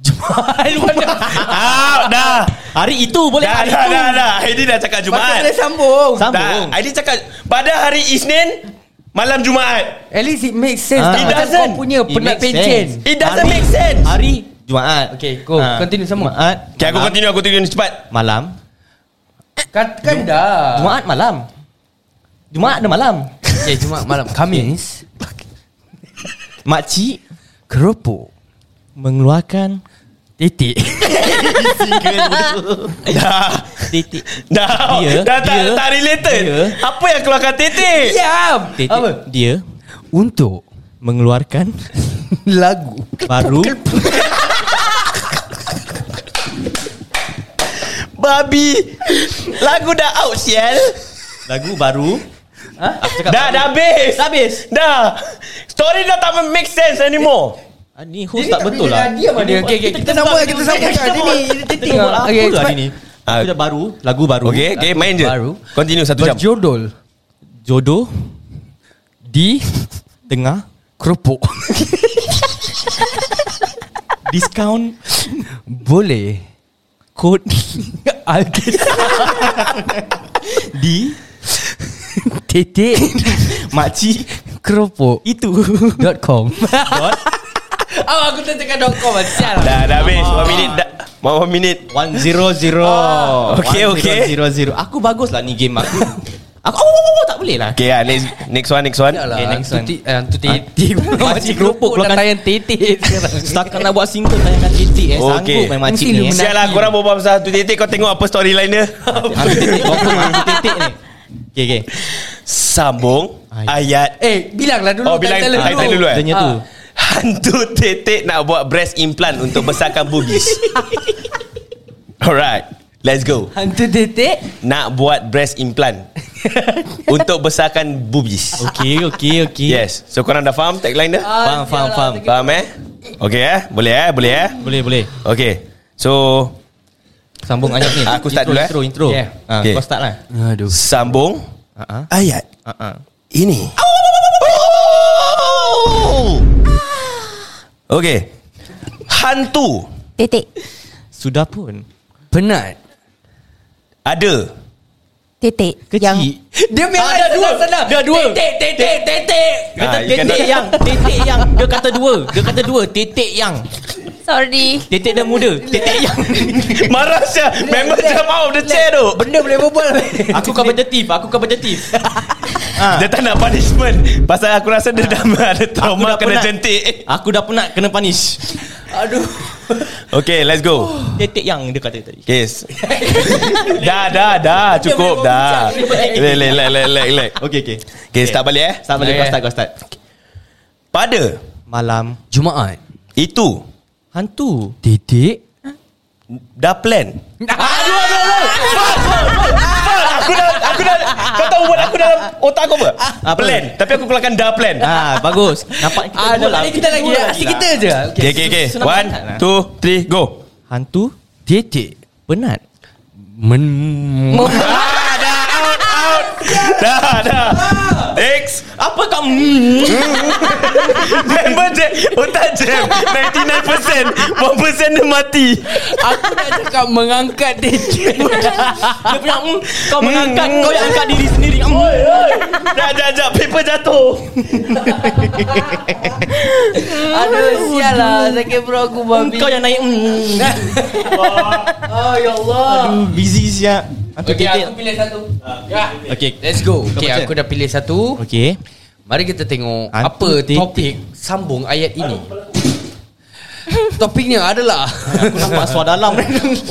[SPEAKER 2] Jumaat Mana
[SPEAKER 3] Out dah
[SPEAKER 4] hari itu boleh
[SPEAKER 3] Dah
[SPEAKER 4] hari
[SPEAKER 3] dah
[SPEAKER 4] itu.
[SPEAKER 3] dah dah Ini dah cakap
[SPEAKER 2] Patut boleh
[SPEAKER 3] Jumaat
[SPEAKER 2] sambung
[SPEAKER 4] Sambung.
[SPEAKER 3] Dah Ini cakap Pada hari Isnin Malam Jumaat
[SPEAKER 2] At least it makes sense
[SPEAKER 4] Ah.
[SPEAKER 2] tak
[SPEAKER 4] It
[SPEAKER 2] Macam
[SPEAKER 3] doesn't.
[SPEAKER 2] kau punya
[SPEAKER 4] It
[SPEAKER 2] Penat
[SPEAKER 4] makes
[SPEAKER 2] pencen
[SPEAKER 4] sense.
[SPEAKER 3] It doesn't
[SPEAKER 4] Hari-
[SPEAKER 3] make sense
[SPEAKER 4] Hari Jumaat. Ah.
[SPEAKER 2] Okay, go. Continue sambung.
[SPEAKER 4] Jumaat.
[SPEAKER 3] Okay aku
[SPEAKER 4] malam.
[SPEAKER 3] continue Aku continue cepat
[SPEAKER 4] Malam.
[SPEAKER 2] Kan, kan dah
[SPEAKER 4] Jumaat malam. Jumaat dah malam.
[SPEAKER 2] Okay Jumaat malam Kamis
[SPEAKER 4] Makcik
[SPEAKER 2] Keropok
[SPEAKER 4] mengeluarkan
[SPEAKER 2] Titik
[SPEAKER 3] Dah
[SPEAKER 4] titik.
[SPEAKER 3] Dah
[SPEAKER 4] Eh. Dia-
[SPEAKER 3] Dah tak,
[SPEAKER 4] dia-
[SPEAKER 3] tak related
[SPEAKER 4] dia-
[SPEAKER 3] Apa yang keluarkan titik
[SPEAKER 2] Diam
[SPEAKER 4] titik.
[SPEAKER 2] Apa
[SPEAKER 4] Dia
[SPEAKER 2] Untuk
[SPEAKER 4] mengeluarkan
[SPEAKER 2] Lagu
[SPEAKER 4] baru
[SPEAKER 3] Babi Lagu dah out sial
[SPEAKER 4] lagu baru. Ha? Aku cakap
[SPEAKER 3] Dah
[SPEAKER 4] baru.
[SPEAKER 3] dah habis
[SPEAKER 4] Dah habis.
[SPEAKER 3] Dah Story dah tak make sense anymore
[SPEAKER 4] Ah, ni host tak betul lah.
[SPEAKER 2] Diam ada okay, okay. Kita sambung Kita sambung kan Ini Ini titik
[SPEAKER 4] Kita buat apa
[SPEAKER 2] Okay,
[SPEAKER 4] lah
[SPEAKER 2] cepat.
[SPEAKER 4] ni?
[SPEAKER 3] Ah.
[SPEAKER 4] Aku dah baru, lagu baru.
[SPEAKER 3] Okay okay main je
[SPEAKER 2] Baru.
[SPEAKER 3] Continue satu jam
[SPEAKER 2] Berjodol
[SPEAKER 4] Jodoh di tengah
[SPEAKER 2] Keropok
[SPEAKER 4] diskaun
[SPEAKER 2] Boleh
[SPEAKER 4] kod
[SPEAKER 2] Alkisah
[SPEAKER 4] di
[SPEAKER 2] Titik
[SPEAKER 4] makcik
[SPEAKER 2] Keropok
[SPEAKER 4] itu.
[SPEAKER 2] Dot com Oh aku tak cakap dot com Sial lah.
[SPEAKER 3] Dah dah habis
[SPEAKER 4] Ah.
[SPEAKER 3] One minute dah One one minute
[SPEAKER 4] One zero zero. Oh,
[SPEAKER 3] Okay, okay.
[SPEAKER 4] Zero zero. Aku bagus lah ni game aku. Aku oh, oh, oh, tak boleh lah.
[SPEAKER 3] Okay lah next, next one next one
[SPEAKER 2] Okay,
[SPEAKER 4] Okay,
[SPEAKER 2] next
[SPEAKER 4] next Ah,
[SPEAKER 2] one. Titik, eh, tu titik.
[SPEAKER 4] Makcik keropok
[SPEAKER 2] Dah
[SPEAKER 4] keluarkan-
[SPEAKER 2] tayang titik Oh, sekarang.
[SPEAKER 4] Setakat nak buat single tayangkan titik eh.
[SPEAKER 3] Okay.
[SPEAKER 4] Sanggup main makcik
[SPEAKER 2] Mesti
[SPEAKER 4] ni
[SPEAKER 2] lu
[SPEAKER 4] eh.
[SPEAKER 3] Sial lah korang berbual pasal tu titik Kau tengok apa storyline dia
[SPEAKER 4] Ambil titik. Confirm lah, ambil titik ni. Okay, okay.
[SPEAKER 3] Sambung Ayat
[SPEAKER 2] Eh, bilanglah dulu.
[SPEAKER 3] Oh, bilang title dulu, eh?
[SPEAKER 4] Adanya tu.
[SPEAKER 2] Ah.
[SPEAKER 3] Hantu titik nak buat breast implant Untuk besarkan boobies Alright Let's go
[SPEAKER 2] Hantu titik.
[SPEAKER 3] Nak buat breast implant Untuk besarkan boobies
[SPEAKER 4] Okay, okay, okay.
[SPEAKER 3] Yes So korang dah faham tagline dia?
[SPEAKER 4] Faham, faham, faham.
[SPEAKER 2] Ah,
[SPEAKER 3] Faham eh? Okay eh? Boleh eh? Boleh eh?
[SPEAKER 4] Boleh, boleh.
[SPEAKER 3] Okay So
[SPEAKER 4] Sambung ayat ni.
[SPEAKER 3] Aku start
[SPEAKER 4] intro,
[SPEAKER 3] dulu, eh.
[SPEAKER 4] Intro, intro.
[SPEAKER 2] Yeah.
[SPEAKER 4] Ah,
[SPEAKER 3] Okay.
[SPEAKER 4] Kau start lah.
[SPEAKER 2] Aduh.
[SPEAKER 3] Sambung
[SPEAKER 4] Uh-huh.
[SPEAKER 3] Ayat
[SPEAKER 4] Uh-huh.
[SPEAKER 3] Ini Okay Hantu
[SPEAKER 5] Titik.
[SPEAKER 4] Sudah pun.
[SPEAKER 2] Penat.
[SPEAKER 3] Ada
[SPEAKER 5] Titik.
[SPEAKER 4] Kecil.
[SPEAKER 5] Yang
[SPEAKER 2] Dia memang ada Ah, dua. Senang.
[SPEAKER 4] Ah, Dia dua.
[SPEAKER 2] Titik, titik, titik.
[SPEAKER 4] Kata
[SPEAKER 3] Ah, you
[SPEAKER 4] titik
[SPEAKER 3] cannot-
[SPEAKER 4] yang Titik yang Dia kata dua Dia kata dua Titik yang
[SPEAKER 5] Sorry.
[SPEAKER 4] Titik dan muda Titik yang
[SPEAKER 3] Marah saya Member jump out of the chair tu
[SPEAKER 2] Benda boleh berbual.
[SPEAKER 4] Aku kompetitif Aku kompetitif
[SPEAKER 3] Dia tak nak punishment Pasal aku rasa dia dah ada trauma kena
[SPEAKER 4] penat.
[SPEAKER 3] jentik
[SPEAKER 4] Aku dah penat kena punish. Aduh.
[SPEAKER 3] Okay let's go
[SPEAKER 4] Detik yang dia kata tadi.
[SPEAKER 3] Kes Dah dah dah Cukup dah Lek lek lek lek lek lek
[SPEAKER 4] Okay, okay.
[SPEAKER 3] Okay start balik eh
[SPEAKER 4] Start balik,
[SPEAKER 2] Okay.
[SPEAKER 4] kau start, kau start.
[SPEAKER 3] Pada
[SPEAKER 4] Malam.
[SPEAKER 2] Jumaat
[SPEAKER 3] Itu
[SPEAKER 4] Hantu.
[SPEAKER 2] Titik
[SPEAKER 3] Dah plan Aku dah Kau tahu buat aku dalam Otak aku apa?
[SPEAKER 4] Apa?
[SPEAKER 3] Plan Tapi aku keluarkan dah plan
[SPEAKER 4] Ah, bagus. Nampak kita
[SPEAKER 2] Ah,
[SPEAKER 4] dua
[SPEAKER 2] dah
[SPEAKER 4] lah.
[SPEAKER 2] balik kita lagi Asyik kita je
[SPEAKER 3] Okay okay okay
[SPEAKER 4] senang
[SPEAKER 3] One
[SPEAKER 4] sangat lah.
[SPEAKER 3] Two Three Go
[SPEAKER 4] Hantu
[SPEAKER 2] Titik
[SPEAKER 4] penat.
[SPEAKER 2] Men
[SPEAKER 3] Ah, dah out out Dah dah Next
[SPEAKER 4] Apa kau
[SPEAKER 3] Member jam Otak jam 99% 1% dia mati
[SPEAKER 2] Aku nak cakap mengangkat titik
[SPEAKER 4] Dia punya
[SPEAKER 2] hmm,
[SPEAKER 4] mm, Kau mengangkat Kau yang angkat diri sendiri mm.
[SPEAKER 3] Jap jap jap Paper jatuh
[SPEAKER 2] Aduh sial lah Sakit perut aku babi
[SPEAKER 4] Kau yang naik mm.
[SPEAKER 2] Oh ya Allah
[SPEAKER 4] Aduh busy siap Hantu
[SPEAKER 2] Okay,
[SPEAKER 4] titik
[SPEAKER 2] aku pilih satu Ya
[SPEAKER 4] Okay
[SPEAKER 2] Let's go Okay,
[SPEAKER 4] baca.
[SPEAKER 2] aku dah pilih satu
[SPEAKER 4] Okay
[SPEAKER 2] Mari kita tengok
[SPEAKER 4] Hantu
[SPEAKER 2] Apa
[SPEAKER 4] titik.
[SPEAKER 2] topik Sambung ayat ini Topiknya adalah
[SPEAKER 4] Aku nampak suara dalam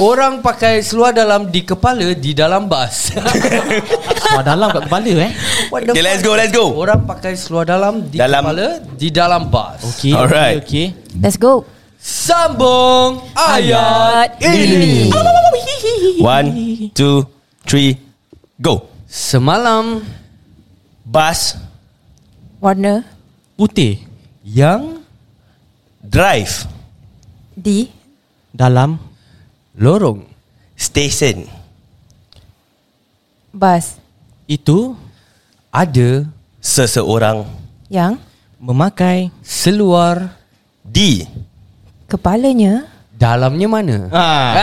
[SPEAKER 2] Orang pakai seluar dalam di kepala Di dalam bas
[SPEAKER 4] Suara dalam kat kepala eh
[SPEAKER 2] What the
[SPEAKER 3] Okay
[SPEAKER 2] fuck?
[SPEAKER 3] let's go let's go
[SPEAKER 2] Orang pakai seluar dalam Di
[SPEAKER 3] Dalam-
[SPEAKER 2] kepala Di dalam bas
[SPEAKER 4] Okay
[SPEAKER 3] Alright.
[SPEAKER 4] Okay
[SPEAKER 5] Let's go
[SPEAKER 2] Sambung ayat ini
[SPEAKER 3] One Two Three Go
[SPEAKER 2] Semalam
[SPEAKER 3] Bus
[SPEAKER 5] Warna
[SPEAKER 4] Putih
[SPEAKER 2] Yang
[SPEAKER 3] Drive
[SPEAKER 5] Di
[SPEAKER 4] Dalam
[SPEAKER 2] Lorong
[SPEAKER 3] Station
[SPEAKER 5] Bas
[SPEAKER 4] Itu
[SPEAKER 2] Ada
[SPEAKER 3] Seseorang
[SPEAKER 5] Yang
[SPEAKER 4] Memakai
[SPEAKER 2] Seluar
[SPEAKER 3] Di
[SPEAKER 5] Kepalanya
[SPEAKER 2] Dalamnya mana? Eh.
[SPEAKER 4] Ah,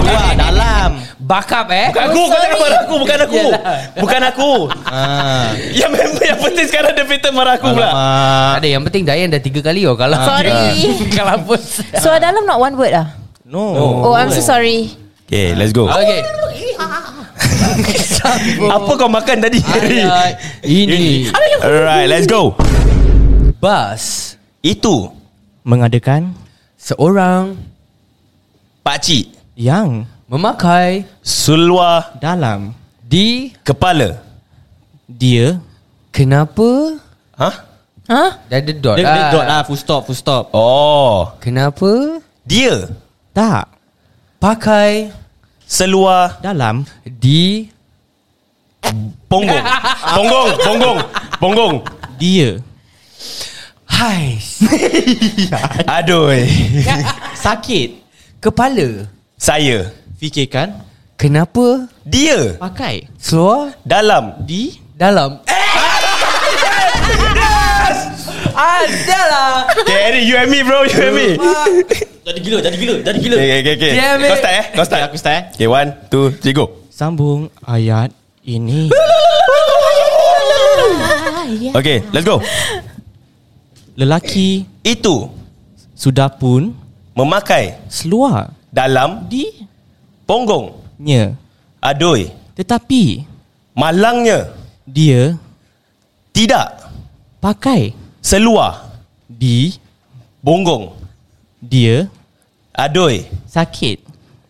[SPEAKER 4] Suara dalam
[SPEAKER 2] Bakap eh
[SPEAKER 3] Bukan aku Kau cakap marah aku Bukan aku Bukan aku
[SPEAKER 4] Ah,
[SPEAKER 3] Yang memang yang penting sekarang Dia Peter marah aku pula
[SPEAKER 4] Alamak.
[SPEAKER 2] Ada yang penting Dayan dah tiga kali oh kalau
[SPEAKER 4] Ah,
[SPEAKER 5] Sorry.
[SPEAKER 2] kalau pun
[SPEAKER 5] Suara dalam not one word ah
[SPEAKER 4] No
[SPEAKER 5] Oh I'm so sorry
[SPEAKER 3] Okay let's go
[SPEAKER 2] Okay
[SPEAKER 3] Apa kau makan tadi
[SPEAKER 2] Ayat ini
[SPEAKER 3] Alright let's go
[SPEAKER 2] Bas
[SPEAKER 3] Itu
[SPEAKER 4] Mengadakan
[SPEAKER 2] Seorang
[SPEAKER 3] Pakcik
[SPEAKER 4] Yang
[SPEAKER 2] Memakai
[SPEAKER 3] Seluar
[SPEAKER 4] Dalam
[SPEAKER 2] Di
[SPEAKER 3] Kepala
[SPEAKER 4] Dia
[SPEAKER 2] Kenapa
[SPEAKER 3] Hah?
[SPEAKER 5] Huh?
[SPEAKER 2] Dah ada dot
[SPEAKER 4] Dia, dia
[SPEAKER 2] lah.
[SPEAKER 4] dot lah Full stop Full stop
[SPEAKER 3] Oh
[SPEAKER 2] Kenapa
[SPEAKER 3] Dia
[SPEAKER 4] Tak
[SPEAKER 2] Pakai
[SPEAKER 3] Seluar
[SPEAKER 4] Dalam
[SPEAKER 2] Di
[SPEAKER 3] Ponggong Ponggong Ponggong Ponggong
[SPEAKER 4] Dia
[SPEAKER 2] Hai
[SPEAKER 3] Aduh eh.
[SPEAKER 4] Sakit
[SPEAKER 2] Kepala
[SPEAKER 3] Saya
[SPEAKER 4] Fikirkan
[SPEAKER 2] Kenapa
[SPEAKER 3] Dia
[SPEAKER 4] Pakai
[SPEAKER 2] Seluar
[SPEAKER 3] Dalam
[SPEAKER 4] Di
[SPEAKER 2] Dalam Eh Adalah
[SPEAKER 3] Okay Eric you and me bro You and me
[SPEAKER 4] Jadi gila Jadi gila Jadi gila
[SPEAKER 3] Okay okay okay
[SPEAKER 2] Damn it.
[SPEAKER 3] Kau start eh Kau start
[SPEAKER 4] Aku start eh
[SPEAKER 3] Okay one Two three go
[SPEAKER 4] Sambung ayat ini
[SPEAKER 3] Okay let's go
[SPEAKER 4] Lelaki
[SPEAKER 3] Itu
[SPEAKER 4] Sudah pun
[SPEAKER 3] Memakai
[SPEAKER 4] Seluar
[SPEAKER 3] Dalam
[SPEAKER 4] Di
[SPEAKER 3] Ponggong
[SPEAKER 4] Nya
[SPEAKER 3] Adoi
[SPEAKER 4] Tetapi
[SPEAKER 3] Malangnya
[SPEAKER 4] Dia
[SPEAKER 3] Tidak
[SPEAKER 4] Pakai
[SPEAKER 3] Seluar
[SPEAKER 4] Di
[SPEAKER 3] Bonggong
[SPEAKER 4] Dia
[SPEAKER 3] Adoi
[SPEAKER 4] Sakit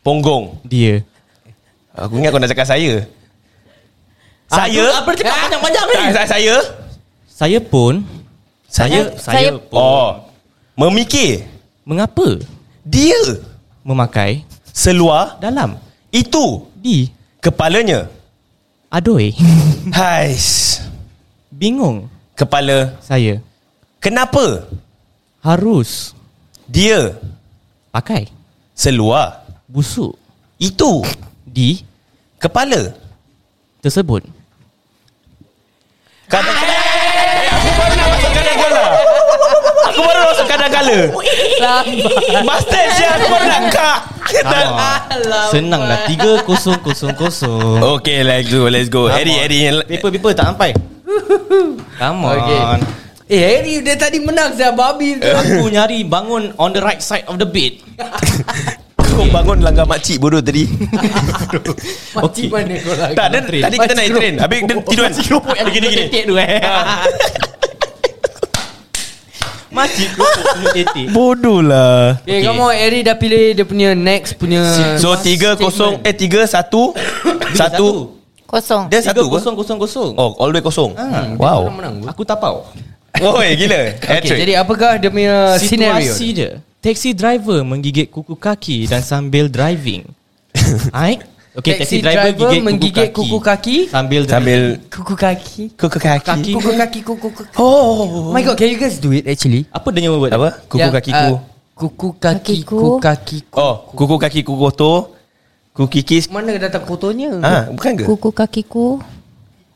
[SPEAKER 3] Ponggong
[SPEAKER 4] Dia
[SPEAKER 3] Aku ingat kau nak cakap saya Saya
[SPEAKER 4] Ah,
[SPEAKER 3] Eh?
[SPEAKER 4] Apa dia cakap panjang-panjang ni
[SPEAKER 3] Tak, saya, saya
[SPEAKER 4] Saya pun
[SPEAKER 3] Saya
[SPEAKER 5] Saya-
[SPEAKER 3] Oh Memikir
[SPEAKER 4] Mengapa
[SPEAKER 3] Dia
[SPEAKER 4] Memakai
[SPEAKER 3] Seluar
[SPEAKER 4] Dalam
[SPEAKER 3] Itu
[SPEAKER 4] Di
[SPEAKER 3] Kepalanya
[SPEAKER 4] Adoi
[SPEAKER 3] Hais
[SPEAKER 4] Bingung
[SPEAKER 3] Kepala
[SPEAKER 4] Saya
[SPEAKER 3] Kenapa
[SPEAKER 4] Harus
[SPEAKER 3] Dia
[SPEAKER 4] Pakai
[SPEAKER 3] Seluar
[SPEAKER 4] Busuk
[SPEAKER 3] Itu
[SPEAKER 4] Di
[SPEAKER 3] Kepala
[SPEAKER 4] Tersebut
[SPEAKER 3] Kadang-kadang Eh, Aku baru nak masuk kadang-kala Aku baru nak masuk kadang-kala Bastard je Aku baru nak kak
[SPEAKER 4] Senang lah 3000
[SPEAKER 3] Okay let's go Let's go Harry Harry
[SPEAKER 4] Paper-paper tak sampai Come on Eh,
[SPEAKER 2] Okay. Eh Harry dia tadi menang Zah Babi tu
[SPEAKER 4] Aku nyari bangun on the right side of the bed
[SPEAKER 3] Kau bangun langgar makcik bodoh tadi
[SPEAKER 2] Makcik mana kau lah
[SPEAKER 3] Tak dia, Tadi kita naik train Habis dia tidur kan
[SPEAKER 4] Makcik keropok yang
[SPEAKER 3] Gini gini
[SPEAKER 4] tetek tu eh
[SPEAKER 3] Ah.
[SPEAKER 4] Makcik keropok penuh tetek
[SPEAKER 3] Bodoh lah
[SPEAKER 2] Okay, okay. kamu Eri dah pilih dia punya next punya
[SPEAKER 3] So tiga kosong Eh tiga satu Satu
[SPEAKER 5] Kosong
[SPEAKER 3] Dia satu
[SPEAKER 4] Satu
[SPEAKER 3] ke?
[SPEAKER 4] kosong kosong kosong
[SPEAKER 3] Oh all the way kosong Wow
[SPEAKER 4] Aku tapau
[SPEAKER 3] Woi gila
[SPEAKER 2] Okay,
[SPEAKER 3] Hat-trick.
[SPEAKER 2] jadi apakah dia punya Uh, scenario?
[SPEAKER 4] Situasi dia Taxi driver menggigit kuku kaki dan sambil driving Aik Okay, taxi, driver, gigit
[SPEAKER 2] menggigit
[SPEAKER 4] kuku,
[SPEAKER 2] kuku kaki.
[SPEAKER 4] Sambil
[SPEAKER 3] Sambil
[SPEAKER 2] Kuku kaki.
[SPEAKER 3] Kuku kaki
[SPEAKER 2] Kaki. Kuku kaki kuku kaki. Oh. my god, can you guys do it actually?
[SPEAKER 4] Apa dia punya word? uh,
[SPEAKER 3] Apa? Kuku
[SPEAKER 2] Yang,
[SPEAKER 3] kakiku
[SPEAKER 2] ah, kuku kaki
[SPEAKER 5] Kakiku.
[SPEAKER 2] kuku kaki.
[SPEAKER 3] Oh kuku kaki kuku kotor Kuku kikis
[SPEAKER 2] Mana datang kotornya?
[SPEAKER 4] Hmm.
[SPEAKER 3] Ah, bukan ke?
[SPEAKER 5] Kuku kakiku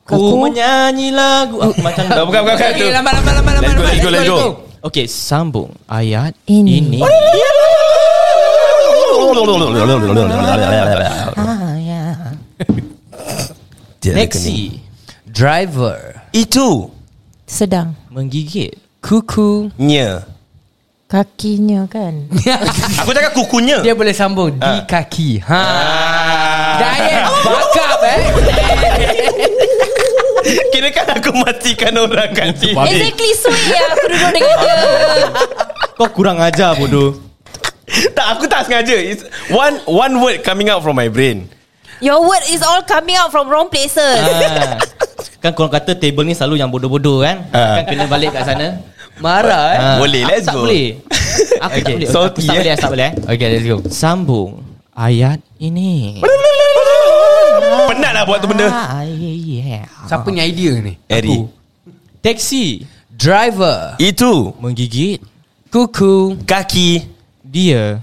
[SPEAKER 4] Ku menyanyi lagu Aku macam
[SPEAKER 3] Tak, Ah, bukan, bukan, bukan.
[SPEAKER 2] Okay, lambat lambat lambat
[SPEAKER 3] Let's
[SPEAKER 2] lambat.
[SPEAKER 3] go, let's go, let's go.
[SPEAKER 4] Okay, sambung ayat
[SPEAKER 5] Ini.
[SPEAKER 4] ini.
[SPEAKER 5] Ah ya
[SPEAKER 4] Taxi
[SPEAKER 2] Driver.
[SPEAKER 3] Itu
[SPEAKER 5] Sedang
[SPEAKER 4] menggigit.
[SPEAKER 2] Kuku.
[SPEAKER 3] Nya
[SPEAKER 5] Kakinya kan
[SPEAKER 3] Aku cakap kukunya
[SPEAKER 2] Dia boleh sambung di
[SPEAKER 3] Ah.
[SPEAKER 2] kaki. Ha.
[SPEAKER 3] Ah.
[SPEAKER 2] Diet bakap eh.
[SPEAKER 3] Kira kan aku matikan orang kat sini
[SPEAKER 5] Exactly sweet ya Aku duduk dengan dia
[SPEAKER 4] Kau kurang ajar bodoh.
[SPEAKER 3] Tak aku tak sengaja It's One one word coming out from my brain
[SPEAKER 5] Your word is all coming out from wrong places
[SPEAKER 4] Ah. Kan korang kata table ni selalu yang bodoh-bodoh kan?
[SPEAKER 3] Ah.
[SPEAKER 4] Kan kena balik kat sana.
[SPEAKER 2] Marah eh.
[SPEAKER 4] Ah.
[SPEAKER 3] Boleh,
[SPEAKER 4] Aku
[SPEAKER 3] let's
[SPEAKER 4] tak
[SPEAKER 3] go.
[SPEAKER 4] Boleh. Aku tak
[SPEAKER 3] Okay,
[SPEAKER 4] boleh.
[SPEAKER 3] salty,
[SPEAKER 4] Aku tak
[SPEAKER 3] eh.
[SPEAKER 4] boleh, aku tak boleh. eh.
[SPEAKER 2] Okay, let's go.
[SPEAKER 4] Sambung ayat ini.
[SPEAKER 3] Penat lah buat tu benda
[SPEAKER 4] Ah, yeah.
[SPEAKER 2] Siapa punya idea ni?
[SPEAKER 3] Eri
[SPEAKER 2] Aku.
[SPEAKER 4] Taxi
[SPEAKER 2] Driver.
[SPEAKER 3] Itu
[SPEAKER 4] menggigit
[SPEAKER 2] Kuku.
[SPEAKER 3] Kaki
[SPEAKER 4] dia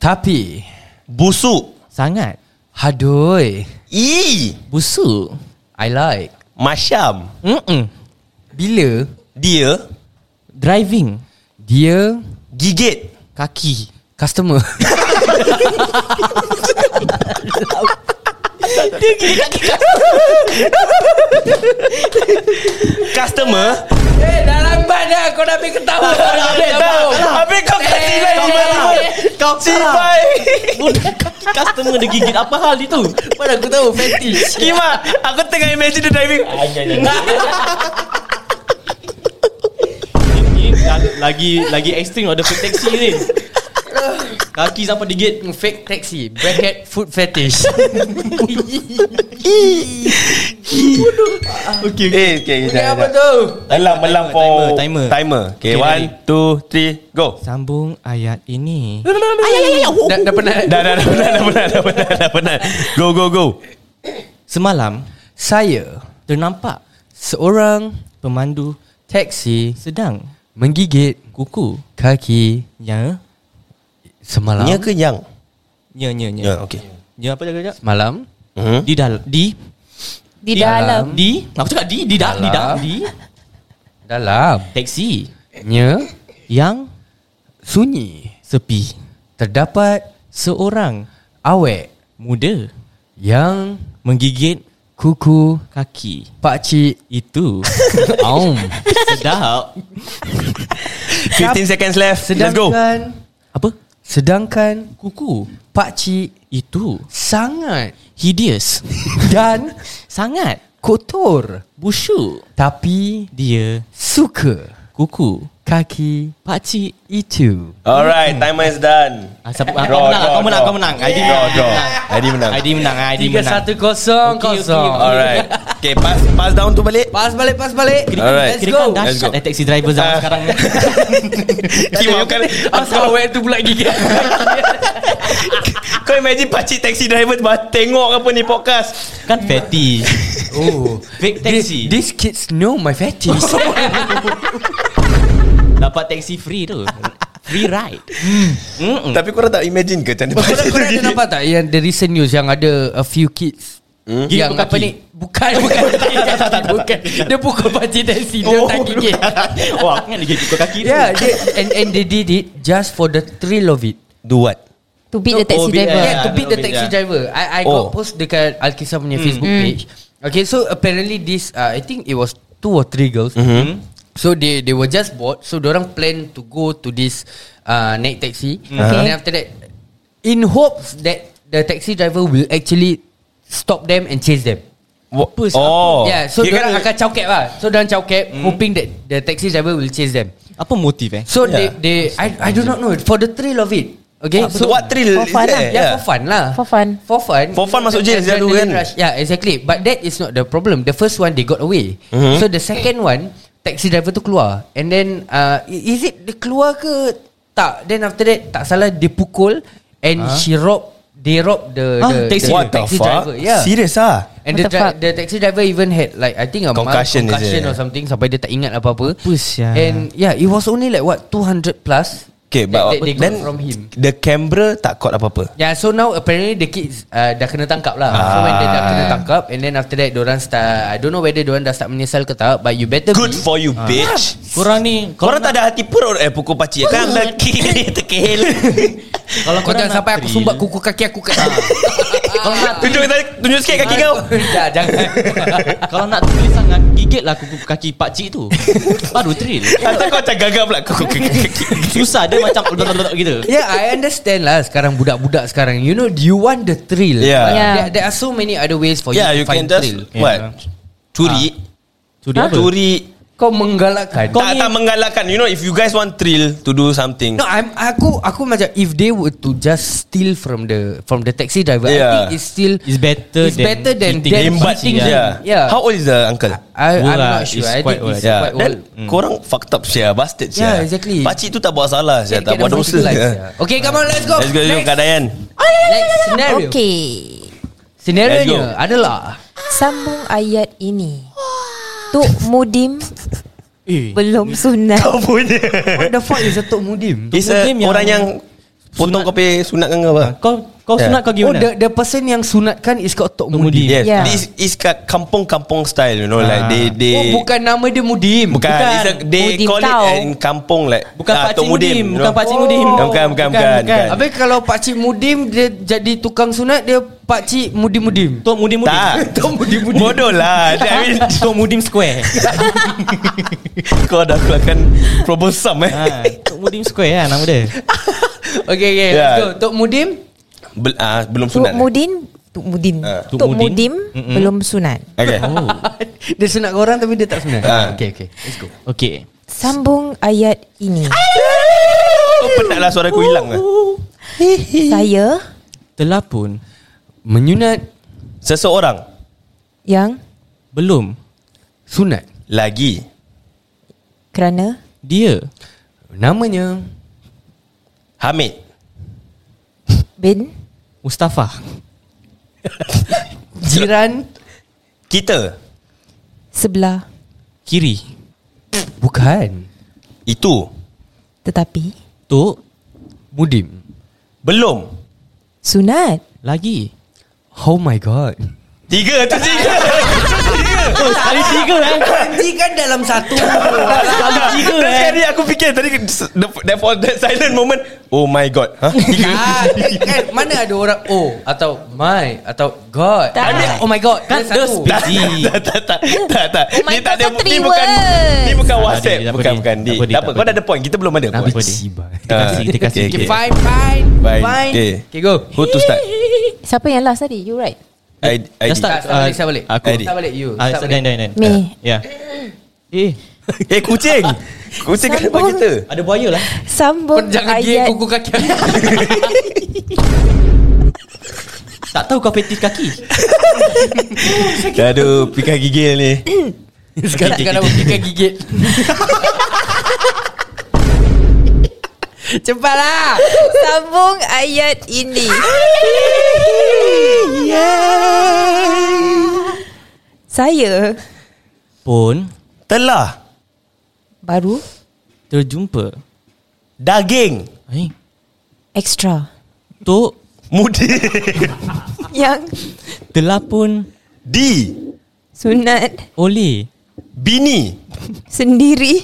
[SPEAKER 2] Tapi.
[SPEAKER 3] Busuk
[SPEAKER 4] sangat
[SPEAKER 2] Hadoi.
[SPEAKER 3] I
[SPEAKER 4] busuk.
[SPEAKER 2] I like.
[SPEAKER 3] Masyam
[SPEAKER 4] Mm-mm.
[SPEAKER 2] Bila
[SPEAKER 3] Dia
[SPEAKER 4] Driving
[SPEAKER 2] dia
[SPEAKER 3] Gigit
[SPEAKER 4] kaki.
[SPEAKER 2] customer.
[SPEAKER 3] Customer
[SPEAKER 2] eh, dah lambat dah. Kau dah ambil ketawa.
[SPEAKER 3] Habis tak Habis kau kat sini Tiba-tiba
[SPEAKER 4] Kau
[SPEAKER 3] Cibai
[SPEAKER 4] Budak kaki customer dia gigit apa hal itu?
[SPEAKER 2] Mana aku tahu fetish.
[SPEAKER 3] Kima Aku tengah imagine dia driving
[SPEAKER 4] Ini lagi lagi ekstrim ada fake taxi ni. Kaki sampai digigit.
[SPEAKER 2] Fake taxi Bracket food fetish
[SPEAKER 3] Okay Okay okay
[SPEAKER 2] Dia
[SPEAKER 3] jap,
[SPEAKER 2] apa
[SPEAKER 3] jap.
[SPEAKER 2] tu?
[SPEAKER 3] Elang elang for
[SPEAKER 4] timer, timer.
[SPEAKER 3] Timer Okay
[SPEAKER 4] Okay,
[SPEAKER 3] one
[SPEAKER 4] ready.
[SPEAKER 3] two three go
[SPEAKER 4] Sambung ayat ini.
[SPEAKER 2] Dah, dah pernah
[SPEAKER 3] Dah dah dah penat dah penat dah penat dah penat Go go go
[SPEAKER 4] Semalam
[SPEAKER 2] Saya
[SPEAKER 4] ternampak
[SPEAKER 2] Seorang
[SPEAKER 4] pemandu
[SPEAKER 2] Taxi
[SPEAKER 4] sedang
[SPEAKER 2] Menggigit
[SPEAKER 4] kuku
[SPEAKER 2] Kaki
[SPEAKER 4] nya
[SPEAKER 2] Semalam
[SPEAKER 3] Nya ke yang
[SPEAKER 4] nya nya nya.
[SPEAKER 3] Ya okay
[SPEAKER 4] Nya apa jaga jaga?
[SPEAKER 2] Malam
[SPEAKER 3] Hmm?
[SPEAKER 4] Di dal di
[SPEAKER 5] Di dalam
[SPEAKER 4] di aku cakap di di dal di dal di
[SPEAKER 2] Dalam
[SPEAKER 4] taxi
[SPEAKER 2] Nya
[SPEAKER 4] yang
[SPEAKER 2] Sunyi
[SPEAKER 4] sepi
[SPEAKER 2] Terdapat
[SPEAKER 4] seorang
[SPEAKER 2] Awek
[SPEAKER 4] muda
[SPEAKER 2] Yang
[SPEAKER 4] menggigit
[SPEAKER 2] Kuku
[SPEAKER 4] kaki
[SPEAKER 2] Pakcik
[SPEAKER 4] itu
[SPEAKER 2] Aum
[SPEAKER 4] sedap
[SPEAKER 3] 15 seconds left Let's go
[SPEAKER 2] Sedangkan
[SPEAKER 4] apa
[SPEAKER 2] Sedangkan
[SPEAKER 4] kuku
[SPEAKER 2] Pakcik
[SPEAKER 4] itu
[SPEAKER 2] Sangat
[SPEAKER 4] hideous
[SPEAKER 2] Dan
[SPEAKER 4] sangat
[SPEAKER 2] Kotor
[SPEAKER 4] busuk
[SPEAKER 2] Tapi
[SPEAKER 4] dia
[SPEAKER 2] Suka
[SPEAKER 4] kuku
[SPEAKER 2] Kaki
[SPEAKER 4] pakcik
[SPEAKER 2] Itu
[SPEAKER 3] Alright timer is done
[SPEAKER 4] ah, siapa, ah,
[SPEAKER 3] Draw,
[SPEAKER 4] kau
[SPEAKER 3] draw,
[SPEAKER 4] menang kau menang
[SPEAKER 3] draw.
[SPEAKER 4] kau menang Aidi
[SPEAKER 3] Draw
[SPEAKER 4] menang
[SPEAKER 3] draw Adi menang
[SPEAKER 4] Aidi menang Aidi
[SPEAKER 2] Tiga
[SPEAKER 4] menang
[SPEAKER 2] satu kosong
[SPEAKER 4] Okey, okey,
[SPEAKER 2] Kosong
[SPEAKER 4] okey.
[SPEAKER 3] Alright Okay pass pass down tu balik
[SPEAKER 2] Pas balik pas balik
[SPEAKER 3] Alright.
[SPEAKER 2] Let's
[SPEAKER 4] Kira
[SPEAKER 2] go
[SPEAKER 4] kan dahsyat eh taxi driver zaman
[SPEAKER 3] Ah.
[SPEAKER 4] sekarang ni Ah,
[SPEAKER 3] Kima bukan
[SPEAKER 2] Asal awet tu pula gigit
[SPEAKER 3] Kau imagine pakcik taxi driver tiba- Tengok apa ni podcast
[SPEAKER 4] Kan fetish
[SPEAKER 2] Oh
[SPEAKER 4] Fake taxi
[SPEAKER 2] These kids know my fetish
[SPEAKER 4] Dapat taxi free tu Free ride Mm-mm.
[SPEAKER 3] Tapi Hmm. korang tak imagine ke Macam mana
[SPEAKER 2] Korang
[SPEAKER 3] pakcik tu
[SPEAKER 2] korang ada
[SPEAKER 3] gigit?
[SPEAKER 2] nampak tak Yang the recent news Yang ada a few kids
[SPEAKER 4] Gigit
[SPEAKER 2] Yang
[SPEAKER 4] pukul
[SPEAKER 2] apa
[SPEAKER 4] kaki.
[SPEAKER 2] ni Bukan Bukan Bukan Dia pukul pakcik taxi Dia tak gigit
[SPEAKER 4] Oh aku kan dia gigit kaki tu
[SPEAKER 2] Oh, Yeah they, and, and they did it Just for the thrill of it
[SPEAKER 3] Do what
[SPEAKER 5] To beat the taxi
[SPEAKER 4] Oh, beat,
[SPEAKER 5] driver
[SPEAKER 4] eh.
[SPEAKER 2] Yeah, to beat the
[SPEAKER 4] Little bit,
[SPEAKER 2] taxi
[SPEAKER 4] yeah.
[SPEAKER 2] driver. I I
[SPEAKER 3] Oh.
[SPEAKER 2] got post dekat Alkisah punya Facebook page. Okay, so apparently this uh, I think it was two or three girls. So they they were just bored. So orang plan to go to this uh, naik taxi. And then after that, in hopes that the taxi driver will actually stop them and chase them.
[SPEAKER 3] Apa
[SPEAKER 4] Apa,
[SPEAKER 3] Oh
[SPEAKER 2] Yeah, so dia
[SPEAKER 3] Kira kan-
[SPEAKER 2] akan chow cap lah. So dia chow cap mm. hoping that the taxi driver will chase them.
[SPEAKER 4] Apa motif eh?
[SPEAKER 2] So
[SPEAKER 3] Yeah.
[SPEAKER 2] yeah. they they I I do not know for the thrill of it. Okay,
[SPEAKER 3] So what thrill is
[SPEAKER 5] for fun
[SPEAKER 3] that?
[SPEAKER 5] lah.
[SPEAKER 2] Yeah, yeah, for fun lah.
[SPEAKER 5] For fun.
[SPEAKER 2] For fun.
[SPEAKER 3] Eh, For fun masuk jail, dia dulu kan?
[SPEAKER 2] Adrenaline rush. Yeah, exactly. But that is not the problem. The first one they got away. Mm-hmm. So the second one taxi driver tu keluar. And then uh, i- is it dia keluar ke tak? Then after that tak salah dia pukul and huh? she rob they rob the
[SPEAKER 4] Huh?
[SPEAKER 2] the,
[SPEAKER 4] Taxi-
[SPEAKER 2] the
[SPEAKER 3] What the
[SPEAKER 2] taxi
[SPEAKER 3] fuck
[SPEAKER 2] driver. Yeah.
[SPEAKER 3] Serious ah
[SPEAKER 2] And the,
[SPEAKER 5] What the
[SPEAKER 2] dri-
[SPEAKER 5] fuck?
[SPEAKER 2] the taxi driver even had like I think a mild
[SPEAKER 3] Concussion, is
[SPEAKER 2] concussion
[SPEAKER 3] it?
[SPEAKER 2] or something sampai dia tak ingat apa-apa.
[SPEAKER 4] Apa sia?
[SPEAKER 2] And yeah, it was only like what 200 plus.
[SPEAKER 3] Okay but
[SPEAKER 2] that, that they got
[SPEAKER 3] Then
[SPEAKER 2] from him.
[SPEAKER 3] The camera tak caught apa-apa
[SPEAKER 2] Yeah, so now apparently the kids uh, dah kena tangkap lah. Ah. So when they dah kena tangkap and then after that orang start I don't know whether orang dah start menyesal ke tak but you better
[SPEAKER 3] Good
[SPEAKER 2] be
[SPEAKER 3] for you bitch
[SPEAKER 4] Korang ni
[SPEAKER 3] Kau Korang tak ada hati perut Eh pukul pakcik Kan lelaki Terkehel
[SPEAKER 2] kalau kau
[SPEAKER 4] korang
[SPEAKER 2] jangan
[SPEAKER 4] nak
[SPEAKER 2] sampai aku
[SPEAKER 4] thrill.
[SPEAKER 2] sumbat kuku kaki aku kat Kalau nak
[SPEAKER 3] Tunjuk tunjuk sikit Ah. kaki kau
[SPEAKER 2] Jangan Ya, jangan.
[SPEAKER 4] Kalau nak thrill
[SPEAKER 2] lah
[SPEAKER 4] sangat Gigitlah kuku kaki pakcik tu Baru thrill
[SPEAKER 3] Atau kau macam gagap pula Kau- kau- kau- kau- kau-
[SPEAKER 4] Susah dia macam gitu.
[SPEAKER 2] Yeah, I understand lah sekarang budak-budak sekarang. You know you want the thrill.
[SPEAKER 3] Yeah.
[SPEAKER 2] But
[SPEAKER 5] Yeah.
[SPEAKER 2] There, there are so many other ways for
[SPEAKER 3] Yeah
[SPEAKER 2] you
[SPEAKER 3] you
[SPEAKER 2] to find
[SPEAKER 3] can just
[SPEAKER 2] thrill.
[SPEAKER 3] What Curi
[SPEAKER 4] Ya. Curi apa?
[SPEAKER 3] Curi
[SPEAKER 2] Ah. Kau menggalakkan.
[SPEAKER 3] Tak tak menggalakkan You know if you guys want thrill To do something
[SPEAKER 2] No, I'm aku aku macam if they were to just steal from the from the taxi driver, I
[SPEAKER 3] Yeah.
[SPEAKER 2] think it's still
[SPEAKER 4] It's better
[SPEAKER 2] it's better than
[SPEAKER 4] hitting
[SPEAKER 2] them
[SPEAKER 3] Lembat
[SPEAKER 4] Lembat
[SPEAKER 2] hitting
[SPEAKER 4] yeah.
[SPEAKER 2] them. Yeah.
[SPEAKER 3] How old is the uncle
[SPEAKER 2] I, I'm
[SPEAKER 4] Old lah,
[SPEAKER 2] not sure.
[SPEAKER 4] it's
[SPEAKER 2] I
[SPEAKER 4] quite
[SPEAKER 2] think it's
[SPEAKER 4] old.
[SPEAKER 3] Yeah,
[SPEAKER 2] quite old. Mm.
[SPEAKER 3] then korang fucked up sia, bastard sia.
[SPEAKER 2] Yeah, exactly.
[SPEAKER 3] Pakcik tu tak buat salah sia,
[SPEAKER 2] Get- get
[SPEAKER 3] tak buat
[SPEAKER 2] them
[SPEAKER 3] dosa.
[SPEAKER 2] hospitalised,
[SPEAKER 3] Yeah.
[SPEAKER 2] yeah. Okay, come on, let's go.
[SPEAKER 3] Let's go, kan. let's go,
[SPEAKER 2] Next,
[SPEAKER 3] Kak Dayan.
[SPEAKER 2] next scenario. Okay.
[SPEAKER 5] Okey.
[SPEAKER 2] Scenario lah.
[SPEAKER 3] Let's go.
[SPEAKER 2] adalah
[SPEAKER 5] Sambung ayat ini. Tok Mudim
[SPEAKER 4] Eh.
[SPEAKER 5] belum sunat.
[SPEAKER 3] Kau punya.
[SPEAKER 2] What the fuck is a Tok Mudim?
[SPEAKER 3] Is a,
[SPEAKER 4] Muslim yang-
[SPEAKER 3] orang yang potong kopi sunat kan kau apa?
[SPEAKER 4] Kau kau
[SPEAKER 3] Yeah.
[SPEAKER 4] sunat kau
[SPEAKER 2] Oh,
[SPEAKER 4] gimana?
[SPEAKER 2] the, the person yang sunatkan is called Tok
[SPEAKER 4] Tok
[SPEAKER 2] Mudim.
[SPEAKER 4] Mudim.
[SPEAKER 3] Yes.
[SPEAKER 5] Yeah.
[SPEAKER 3] This is kat kampung-kampung style, you know, like they they
[SPEAKER 2] Oh, bukan nama dia Mudim.
[SPEAKER 3] bukan, it's a, they
[SPEAKER 5] Mudim
[SPEAKER 3] call
[SPEAKER 5] tau.
[SPEAKER 3] it in kampung like
[SPEAKER 4] Bukan
[SPEAKER 3] ah,
[SPEAKER 4] Pakcik
[SPEAKER 3] Tok
[SPEAKER 4] Mudim,
[SPEAKER 3] you
[SPEAKER 4] bukan
[SPEAKER 3] know. Oh.
[SPEAKER 4] Pakcik Mudim.
[SPEAKER 3] Bukan, bukan, bukan, bukan, bukan.
[SPEAKER 2] Habis kalau Pak Cik Mudim dia jadi tukang sunat dia Pak Cik Mudim Mudim.
[SPEAKER 4] Tok Mudim Mudim.
[SPEAKER 3] Tak.
[SPEAKER 2] Tok Mudim Mudim.
[SPEAKER 3] Bodoh lah. I mean,
[SPEAKER 4] Tok Mudim Square.
[SPEAKER 3] kau dah keluarkan probosum eh.
[SPEAKER 4] ha, Tok Mudim Square lah nama dia.
[SPEAKER 2] Okay, okay,
[SPEAKER 3] Yeah.
[SPEAKER 2] let's go. Tok Mudim
[SPEAKER 3] Bel, ah, belum
[SPEAKER 5] Tok
[SPEAKER 3] sunat. eh?
[SPEAKER 5] Mudin Tok Mudin
[SPEAKER 3] Ah.
[SPEAKER 4] Tok
[SPEAKER 5] Tok
[SPEAKER 4] Mudin.
[SPEAKER 5] Mudim belum sunat.
[SPEAKER 3] Okay.
[SPEAKER 4] Oh.
[SPEAKER 2] dia sunat orang tapi dia tak sunat.
[SPEAKER 3] Ah.
[SPEAKER 2] Okay, okay. Let's go.
[SPEAKER 4] Okay.
[SPEAKER 5] Sambung ayat ini.
[SPEAKER 3] Oh, penatlah suara aku hilang lah.
[SPEAKER 5] Saya
[SPEAKER 4] Telah pun
[SPEAKER 2] Menyunat
[SPEAKER 3] Seseorang
[SPEAKER 5] yang
[SPEAKER 4] belum
[SPEAKER 2] sunat
[SPEAKER 3] lagi
[SPEAKER 5] kerana
[SPEAKER 4] dia
[SPEAKER 2] namanya
[SPEAKER 3] Hamid.
[SPEAKER 5] bin
[SPEAKER 4] Mustafa
[SPEAKER 2] jiran
[SPEAKER 3] Kita
[SPEAKER 5] sebelah
[SPEAKER 4] kiri
[SPEAKER 2] bukan
[SPEAKER 3] itu
[SPEAKER 5] tetapi
[SPEAKER 4] Tok
[SPEAKER 2] Mudim.
[SPEAKER 3] belum.
[SPEAKER 5] sunat.
[SPEAKER 4] lagi.
[SPEAKER 2] Oh my god.
[SPEAKER 3] Tiga tu tiga.
[SPEAKER 4] Oh, sekali tiga eh.
[SPEAKER 2] Anji kan dalam satu.
[SPEAKER 4] Sekali tiga
[SPEAKER 3] Dan
[SPEAKER 4] eh.
[SPEAKER 3] sekali aku fikir tadi the, that for that silent moment. Oh my god. Huh? Tiga.
[SPEAKER 2] Ah, kan mana ada orang oh atau my atau god.
[SPEAKER 5] Tak.
[SPEAKER 2] Ada, oh my god.
[SPEAKER 4] Kan
[SPEAKER 2] dia
[SPEAKER 4] those
[SPEAKER 2] satu.
[SPEAKER 3] Tak, tak, tak, tak, tak, tak.
[SPEAKER 5] Oh my
[SPEAKER 3] Ni tak
[SPEAKER 5] God,
[SPEAKER 3] ada
[SPEAKER 5] so
[SPEAKER 3] ni
[SPEAKER 5] three
[SPEAKER 3] bukan ni bukan
[SPEAKER 4] words.
[SPEAKER 3] WhatsApp,
[SPEAKER 4] Tak apa,
[SPEAKER 3] bukan
[SPEAKER 4] Di,
[SPEAKER 3] bukan
[SPEAKER 4] tak
[SPEAKER 3] di.
[SPEAKER 4] apa, Di,
[SPEAKER 3] Tak apa,
[SPEAKER 4] tak
[SPEAKER 3] kau
[SPEAKER 4] apa.
[SPEAKER 3] dah ada point. Kita belum ada
[SPEAKER 4] Nabi
[SPEAKER 3] point. Ah.
[SPEAKER 4] Cibai. Kita kasih, kita kasih.
[SPEAKER 3] Okay,
[SPEAKER 2] Okay,
[SPEAKER 3] okay.
[SPEAKER 2] fine, fine,
[SPEAKER 3] Fine,
[SPEAKER 2] fine.
[SPEAKER 3] okay.
[SPEAKER 2] okay go.
[SPEAKER 3] Who to start?
[SPEAKER 5] Siapa yang last tadi? You right.
[SPEAKER 3] I, I
[SPEAKER 4] Just start.
[SPEAKER 2] Start, start balik, start balik.
[SPEAKER 4] Aku.
[SPEAKER 2] Start balik, you.
[SPEAKER 4] Ah,
[SPEAKER 2] Start
[SPEAKER 4] start dan
[SPEAKER 2] balik.
[SPEAKER 4] dan dan.
[SPEAKER 5] Me.
[SPEAKER 4] Ya. Eh,
[SPEAKER 3] Eh kucing. Kucing kan
[SPEAKER 5] Sambung.
[SPEAKER 3] kita.
[SPEAKER 4] ada buaya lah.
[SPEAKER 2] Kau
[SPEAKER 5] Sambung
[SPEAKER 2] jangan dia
[SPEAKER 5] ayat
[SPEAKER 2] kuku kaki.
[SPEAKER 4] Tak tahu kau petis kaki.
[SPEAKER 3] Aduh, pikir gigil ni.
[SPEAKER 2] Sekarang kena bukikan gigit. Cepatlah.
[SPEAKER 5] sambung ayat ini. Saya
[SPEAKER 4] Pun
[SPEAKER 3] Telah
[SPEAKER 5] baru
[SPEAKER 4] terjumpa.
[SPEAKER 3] daging
[SPEAKER 4] Eh,
[SPEAKER 5] extra
[SPEAKER 4] Tok
[SPEAKER 3] mudi
[SPEAKER 5] yang
[SPEAKER 4] telah pun
[SPEAKER 3] di
[SPEAKER 5] sunat
[SPEAKER 4] oleh
[SPEAKER 3] bini.
[SPEAKER 5] sendiri.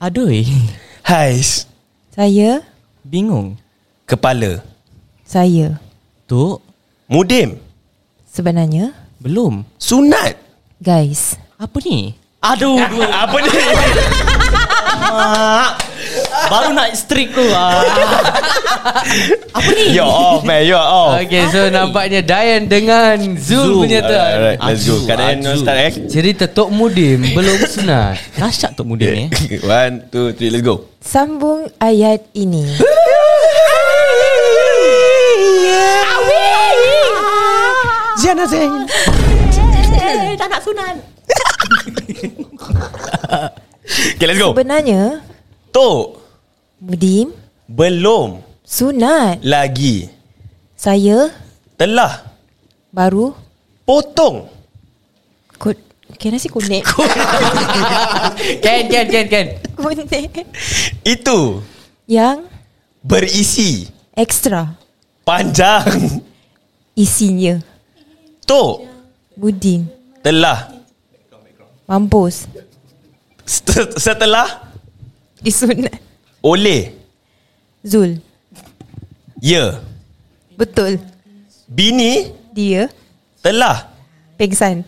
[SPEAKER 4] Aduh, eh.
[SPEAKER 3] Hais.
[SPEAKER 5] Saya
[SPEAKER 4] bingung.
[SPEAKER 3] Kepala.
[SPEAKER 5] saya
[SPEAKER 4] Tok
[SPEAKER 3] Mudim.
[SPEAKER 5] sebenarnya
[SPEAKER 4] belum.
[SPEAKER 3] Sunat.
[SPEAKER 5] guys
[SPEAKER 4] Apa ni? Aduh, dua.
[SPEAKER 3] Apa ni?
[SPEAKER 4] Baru nak streak tu ah.
[SPEAKER 3] You're off man You're off
[SPEAKER 2] Okay so nampaknya Dayan dengan Zul,
[SPEAKER 4] Zul.
[SPEAKER 2] punya turn
[SPEAKER 3] Alright, alright, let's go.
[SPEAKER 4] Azu,
[SPEAKER 3] Kanan
[SPEAKER 4] Azu.
[SPEAKER 3] start eh.
[SPEAKER 2] Cerita Tok Mudim Belum sunat
[SPEAKER 4] Dahsyat Tok Muda ni eh.
[SPEAKER 3] One, two, three, let's go.
[SPEAKER 5] Sambung ayat ini.
[SPEAKER 3] Ziana
[SPEAKER 4] Ah.
[SPEAKER 3] Zain.
[SPEAKER 6] Tak nak sunat
[SPEAKER 3] Okay, let's go.
[SPEAKER 5] Sebenarnya
[SPEAKER 3] Tok,
[SPEAKER 5] Mudim
[SPEAKER 3] belum
[SPEAKER 5] sunat.
[SPEAKER 3] lagi
[SPEAKER 5] Saya
[SPEAKER 3] telah
[SPEAKER 5] baru
[SPEAKER 3] potong.
[SPEAKER 5] kod Kena si kunik
[SPEAKER 2] Can can can can
[SPEAKER 5] Kunik
[SPEAKER 3] Itu
[SPEAKER 5] Yang
[SPEAKER 3] berisi
[SPEAKER 5] Ekstra
[SPEAKER 3] panjang.
[SPEAKER 5] Isinya
[SPEAKER 3] Tok,
[SPEAKER 5] Mudim
[SPEAKER 3] telah
[SPEAKER 5] Mampus
[SPEAKER 3] Set- setelah
[SPEAKER 5] Disunat
[SPEAKER 3] oleh
[SPEAKER 5] Zul
[SPEAKER 3] ya
[SPEAKER 5] Betul
[SPEAKER 3] bini
[SPEAKER 5] Dia
[SPEAKER 3] telah
[SPEAKER 5] Pengsan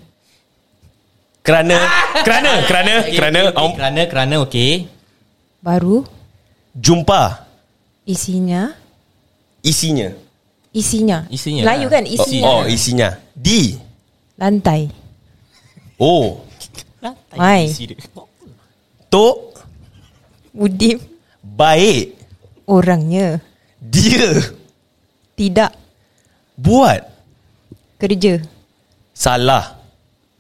[SPEAKER 3] kerana kerana kerana kerana um,
[SPEAKER 4] Kerana kerana okey.
[SPEAKER 5] Baru
[SPEAKER 3] jumpa
[SPEAKER 5] Isinya
[SPEAKER 3] isinya.
[SPEAKER 5] Isinya
[SPEAKER 4] Isinya
[SPEAKER 5] Melayu
[SPEAKER 4] lah.
[SPEAKER 5] kan
[SPEAKER 3] Oh,
[SPEAKER 5] Isinya
[SPEAKER 3] oh isinya. Di.
[SPEAKER 5] Lantai
[SPEAKER 3] Oh,
[SPEAKER 5] Mai
[SPEAKER 3] tok
[SPEAKER 5] Mudim
[SPEAKER 3] baik
[SPEAKER 5] Orangnya
[SPEAKER 3] dia
[SPEAKER 5] Tidak
[SPEAKER 3] buat
[SPEAKER 5] Kerja
[SPEAKER 3] salah.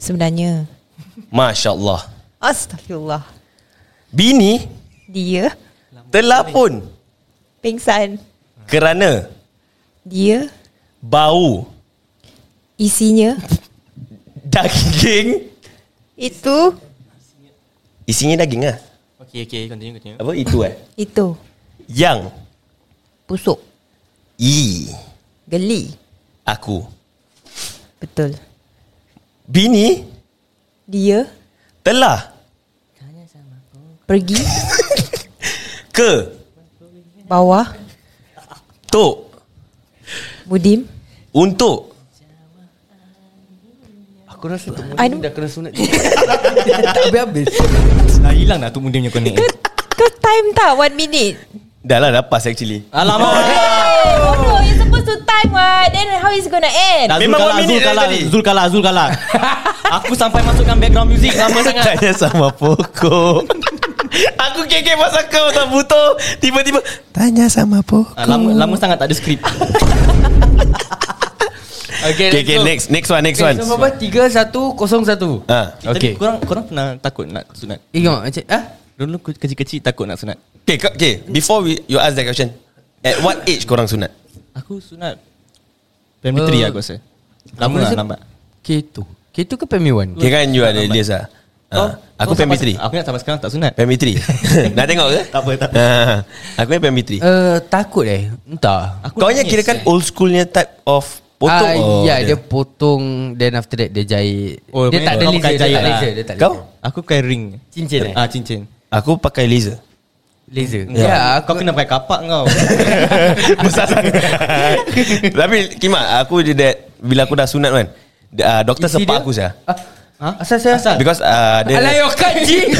[SPEAKER 5] Sebenarnya
[SPEAKER 3] Masya-Allah.
[SPEAKER 5] Astagfirullah
[SPEAKER 3] Bini
[SPEAKER 5] Dia
[SPEAKER 3] telah pun
[SPEAKER 5] Pengsan
[SPEAKER 3] kerana
[SPEAKER 5] Dia
[SPEAKER 3] bau
[SPEAKER 5] Isinya
[SPEAKER 3] daging
[SPEAKER 5] Itu
[SPEAKER 3] isinya daging ah.
[SPEAKER 4] Okey okey continue continue.
[SPEAKER 3] Apa itu eh?
[SPEAKER 5] Itu
[SPEAKER 3] Yang
[SPEAKER 5] Pusuk
[SPEAKER 3] i
[SPEAKER 5] Geli
[SPEAKER 3] aku.
[SPEAKER 5] Betul
[SPEAKER 3] Bini
[SPEAKER 5] Dia
[SPEAKER 3] telah
[SPEAKER 5] Pergi
[SPEAKER 3] ke
[SPEAKER 5] Bawah
[SPEAKER 3] tok
[SPEAKER 5] Mudim
[SPEAKER 3] untuk
[SPEAKER 2] Aku rasa Tok
[SPEAKER 5] I
[SPEAKER 2] Mudim
[SPEAKER 5] don't-
[SPEAKER 2] dah kena sunat Tak habis-habis
[SPEAKER 4] Dah hilang dah Tok Muda punya konek.
[SPEAKER 5] Kau time tak One minute
[SPEAKER 3] Dah lah dah pas actually
[SPEAKER 4] Alamak.
[SPEAKER 5] Hey, bodoh You're supposed to time what Then how is it gonna end
[SPEAKER 4] Dah Zul
[SPEAKER 3] Memang
[SPEAKER 4] kalah,
[SPEAKER 3] one
[SPEAKER 4] Zul
[SPEAKER 3] minute dah
[SPEAKER 4] kalah,
[SPEAKER 3] tadi.
[SPEAKER 4] Zul kalah, Zul kalah. Aku sampai masukkan background music lama sangat.
[SPEAKER 3] Tanya sama pokok Aku kekek masa kau tak butuh Tiba-tiba Tanya sama pokok
[SPEAKER 4] Ah, lama lama sangat tak ada skrip.
[SPEAKER 2] Okay,
[SPEAKER 3] Okay, okay next Next one next one
[SPEAKER 2] So berapa? 3101
[SPEAKER 3] Ah,
[SPEAKER 4] Okay.
[SPEAKER 2] Okay
[SPEAKER 4] Korang korang pernah takut nak sunat?
[SPEAKER 2] Ingat macam ah?
[SPEAKER 4] Dulu aku kecil-kecil takut nak sunat.
[SPEAKER 3] okay, kau- okay Before we, you ask that question At what age korang sunat?
[SPEAKER 4] Aku sunat
[SPEAKER 2] Eh,
[SPEAKER 4] primary 3 aku rasa. Lama lah lambat.
[SPEAKER 2] K2 K2 ke Pemi 1?
[SPEAKER 3] Okay kan you ada Elias lah
[SPEAKER 4] Kau-
[SPEAKER 3] Ah, Aku
[SPEAKER 4] kau Oh, sampai-
[SPEAKER 3] PMB3
[SPEAKER 4] Aku nak sampai sekarang tak sunat.
[SPEAKER 3] PMB3 Nak tengok ke?
[SPEAKER 4] Tak apa, tak apa.
[SPEAKER 3] Ah, Aku yang PMB3
[SPEAKER 2] Uh, takut eh Entah
[SPEAKER 4] Aku
[SPEAKER 3] Kau hanya
[SPEAKER 4] nangis,
[SPEAKER 3] kira kan
[SPEAKER 4] eh.
[SPEAKER 3] old schoolnya type of Potong
[SPEAKER 2] Ah,
[SPEAKER 3] Oh,
[SPEAKER 2] Ya
[SPEAKER 3] okay.
[SPEAKER 2] dia potong Then after that dia jahit
[SPEAKER 4] Oh,
[SPEAKER 2] Dia
[SPEAKER 4] kau
[SPEAKER 2] tak ada
[SPEAKER 4] kau
[SPEAKER 2] laser
[SPEAKER 4] pakai
[SPEAKER 2] Dia tak
[SPEAKER 4] jahit
[SPEAKER 2] ada
[SPEAKER 4] lah.
[SPEAKER 2] laser Dia tak ada
[SPEAKER 3] Kau?
[SPEAKER 2] laser.
[SPEAKER 4] Aku pakai ring.
[SPEAKER 2] Cincin eh?
[SPEAKER 4] Ah cincin.
[SPEAKER 3] Aku pakai laser
[SPEAKER 2] Laser
[SPEAKER 3] Ya.
[SPEAKER 2] Ya aku
[SPEAKER 4] Kau kena pakai kapak kau.
[SPEAKER 3] Besar sangat Tapi Kima Aku je that Bila aku dah sunat kan uh, Doktor
[SPEAKER 2] Isi
[SPEAKER 3] sepak
[SPEAKER 2] dia?
[SPEAKER 3] aku saya
[SPEAKER 2] Ah,
[SPEAKER 4] Ha?
[SPEAKER 2] Asal saya
[SPEAKER 4] Asal?
[SPEAKER 3] Because uh, dia,
[SPEAKER 2] Alah ya. your kanji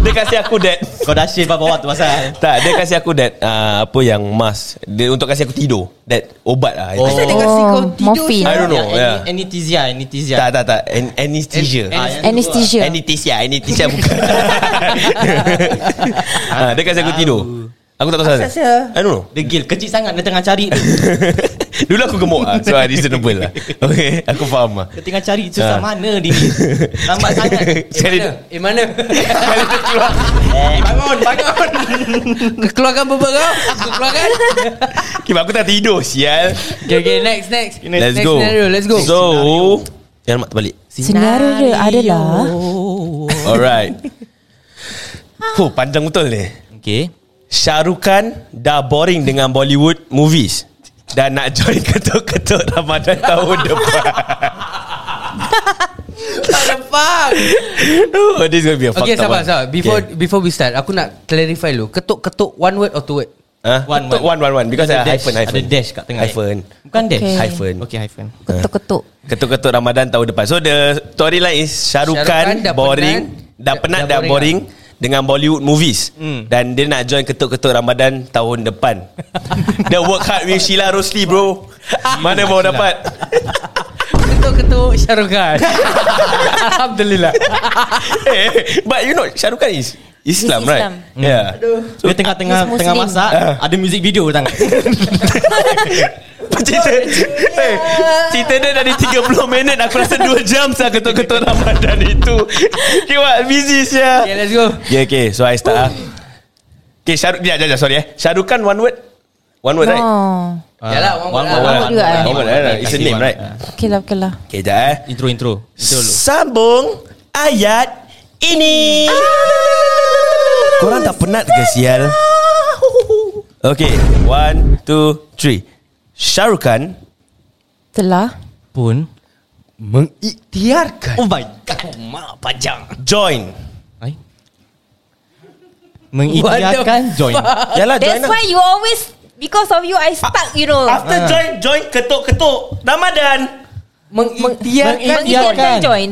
[SPEAKER 3] dia kasih aku that
[SPEAKER 4] Kau dah shave bawah tu pasal.
[SPEAKER 3] Tak dia kasih aku that uh, Apa yang mask Dia untuk kasih aku tidur That obat lah
[SPEAKER 4] Oh.
[SPEAKER 3] oh.
[SPEAKER 2] Dia kasi kau tidur
[SPEAKER 5] morphine.
[SPEAKER 3] I don't know
[SPEAKER 4] Yang
[SPEAKER 3] yeah.
[SPEAKER 4] ani- Anesthesia,
[SPEAKER 2] Ya.
[SPEAKER 4] anesthesia.
[SPEAKER 3] Tak tak tak An- Anesthesia
[SPEAKER 4] Ah,
[SPEAKER 3] Ah,
[SPEAKER 4] yang kedua.
[SPEAKER 5] Anesthesia
[SPEAKER 3] Anesthesia Anesthesia bukan Ah, Dia kasih aku tidur Aku tak tahu salah I don't know
[SPEAKER 4] Degil kecil sangat lah. dia tengah cari. tu.
[SPEAKER 3] Dulu aku gemuk lah So reasonable lah Okay Aku faham lah
[SPEAKER 4] Dia tengah cari susah
[SPEAKER 3] Ah.
[SPEAKER 4] mana dia ni. Lambat sangat.
[SPEAKER 3] Cari
[SPEAKER 2] Eh mana? bangun, bangun. Keluarkan bebek kau. Keluarkan.
[SPEAKER 3] Okay, aku tak tidur sial
[SPEAKER 2] Okay, okay, next, next.
[SPEAKER 3] Let's
[SPEAKER 2] next
[SPEAKER 3] go
[SPEAKER 2] Scenario, let's go.
[SPEAKER 3] So Jangan mak terbalik
[SPEAKER 5] Senario dia adalah
[SPEAKER 2] Oh.
[SPEAKER 3] Alright Fuh panjang betul ni
[SPEAKER 4] Okay.
[SPEAKER 3] Syarukan Dah boring dengan Bollywood movies Dan nak join ketuk-ketuk Ramadan tahun depan
[SPEAKER 2] tak lepak.
[SPEAKER 3] oh, This is gonna be a
[SPEAKER 2] Okay,
[SPEAKER 3] fucked up
[SPEAKER 2] sabar,
[SPEAKER 3] one.
[SPEAKER 2] sabar. Before
[SPEAKER 3] okay.
[SPEAKER 2] before we start, aku nak clarify dulu. Ketuk-ketuk one word or two word?
[SPEAKER 3] Huh?
[SPEAKER 4] One,
[SPEAKER 3] One, one, one, one, Because ada
[SPEAKER 4] Ada dash,
[SPEAKER 3] hyphen, hyphen
[SPEAKER 4] ada dash kat tengah. eh?
[SPEAKER 3] Hyphen
[SPEAKER 4] Bukan dash.
[SPEAKER 5] Okay.
[SPEAKER 3] Hyphen
[SPEAKER 4] Okay, hyphen.
[SPEAKER 5] Ketuk-ketuk
[SPEAKER 3] Ketuk-ketuk Ramadan tahun depan So the storyline is Syarukan,
[SPEAKER 2] Syarukan dah lah. Hmm.
[SPEAKER 3] Boring
[SPEAKER 2] penat.
[SPEAKER 3] Dah penat dah boring dengan Bollywood movies dan dia nak join ketuk-ketuk Ramadan tahun depan. dia work hard with Sheila Rosli bro. Mana mau dapat?
[SPEAKER 2] Ketuk-ketuk Shahrukh Khan Alhamdulillah
[SPEAKER 3] Eh, But you know Syarul Khan is Islam,
[SPEAKER 5] He's
[SPEAKER 3] right?
[SPEAKER 5] Islam.
[SPEAKER 3] Yeah.
[SPEAKER 4] So, dia tengah-tengah
[SPEAKER 5] He's Muslim.
[SPEAKER 4] tengah masak
[SPEAKER 3] Ah.
[SPEAKER 4] Ada music video tangan
[SPEAKER 3] Cerita eh, Cerita dia dari 30 minit Aku rasa 2 jam Saya ketuk-ketuk Ramadan itu Okay what
[SPEAKER 2] Okay
[SPEAKER 3] Busy sia
[SPEAKER 2] let's go
[SPEAKER 3] Okay okay Ya, So I start ah. Okay Syarul Sekejap sekejap sorry eh Syarul Khan one word One word right Ah,
[SPEAKER 5] No.
[SPEAKER 4] Ah,
[SPEAKER 2] Yalah, one word lah.
[SPEAKER 5] One word juga, eh?
[SPEAKER 3] One word eh, It's a name right
[SPEAKER 5] Okay lah, okay lah.
[SPEAKER 3] Okay sekejap eh
[SPEAKER 4] Intro intro Intro dulu
[SPEAKER 3] Sambung ayat ini.
[SPEAKER 5] Ah.
[SPEAKER 3] Korang tak penat ke sial? Okay, one, two, three. kan Shahrukh Khan
[SPEAKER 5] Telah.
[SPEAKER 4] Pun
[SPEAKER 2] Mengiktiarkan
[SPEAKER 4] Oh my god Mak panjang
[SPEAKER 3] join.
[SPEAKER 4] Hai Mengikhtiarkan join
[SPEAKER 3] Yalah join
[SPEAKER 5] That's
[SPEAKER 3] lah.
[SPEAKER 5] why you always because of you I stuck, you know.
[SPEAKER 3] After join, join ketuk-ketuk Ramadan.
[SPEAKER 2] Mengiktiarkan
[SPEAKER 5] Mengikhtiarkan join.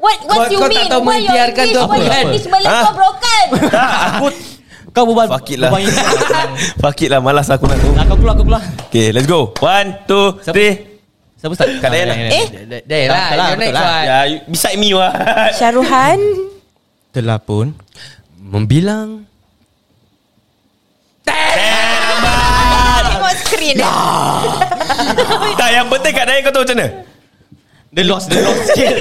[SPEAKER 5] What what
[SPEAKER 2] Kau-
[SPEAKER 5] you
[SPEAKER 2] kau tak
[SPEAKER 5] mean?
[SPEAKER 2] tahu
[SPEAKER 5] What your
[SPEAKER 2] mengikhtiarkan
[SPEAKER 5] English?
[SPEAKER 2] tu
[SPEAKER 5] What
[SPEAKER 2] apa?
[SPEAKER 5] your
[SPEAKER 4] Apa?
[SPEAKER 5] English Malay
[SPEAKER 3] Ah.
[SPEAKER 5] kau broken.
[SPEAKER 3] Tak, aku
[SPEAKER 4] Kau berbual
[SPEAKER 3] Fuck it lah.
[SPEAKER 4] berbual ini.
[SPEAKER 3] Fuck it lah, malas aku nak tu.
[SPEAKER 4] Nah, Kau keluar kau keluar
[SPEAKER 3] Okay, let's go. One, two,
[SPEAKER 4] Siapa?
[SPEAKER 3] three.
[SPEAKER 4] Siapa start?
[SPEAKER 3] Kat Dayan lah.
[SPEAKER 5] Eh,
[SPEAKER 2] Dah lah
[SPEAKER 4] Tak, tak lah,
[SPEAKER 2] Your next
[SPEAKER 4] betul lah.
[SPEAKER 2] one
[SPEAKER 3] Yeah, Ya, you- beside me wah.
[SPEAKER 5] Syaruhan
[SPEAKER 4] Telah pun
[SPEAKER 2] Membilang
[SPEAKER 5] tengok screen.
[SPEAKER 3] tak, yang penting kat Dayan kau tahu macam mana?
[SPEAKER 4] The lost The lost sikit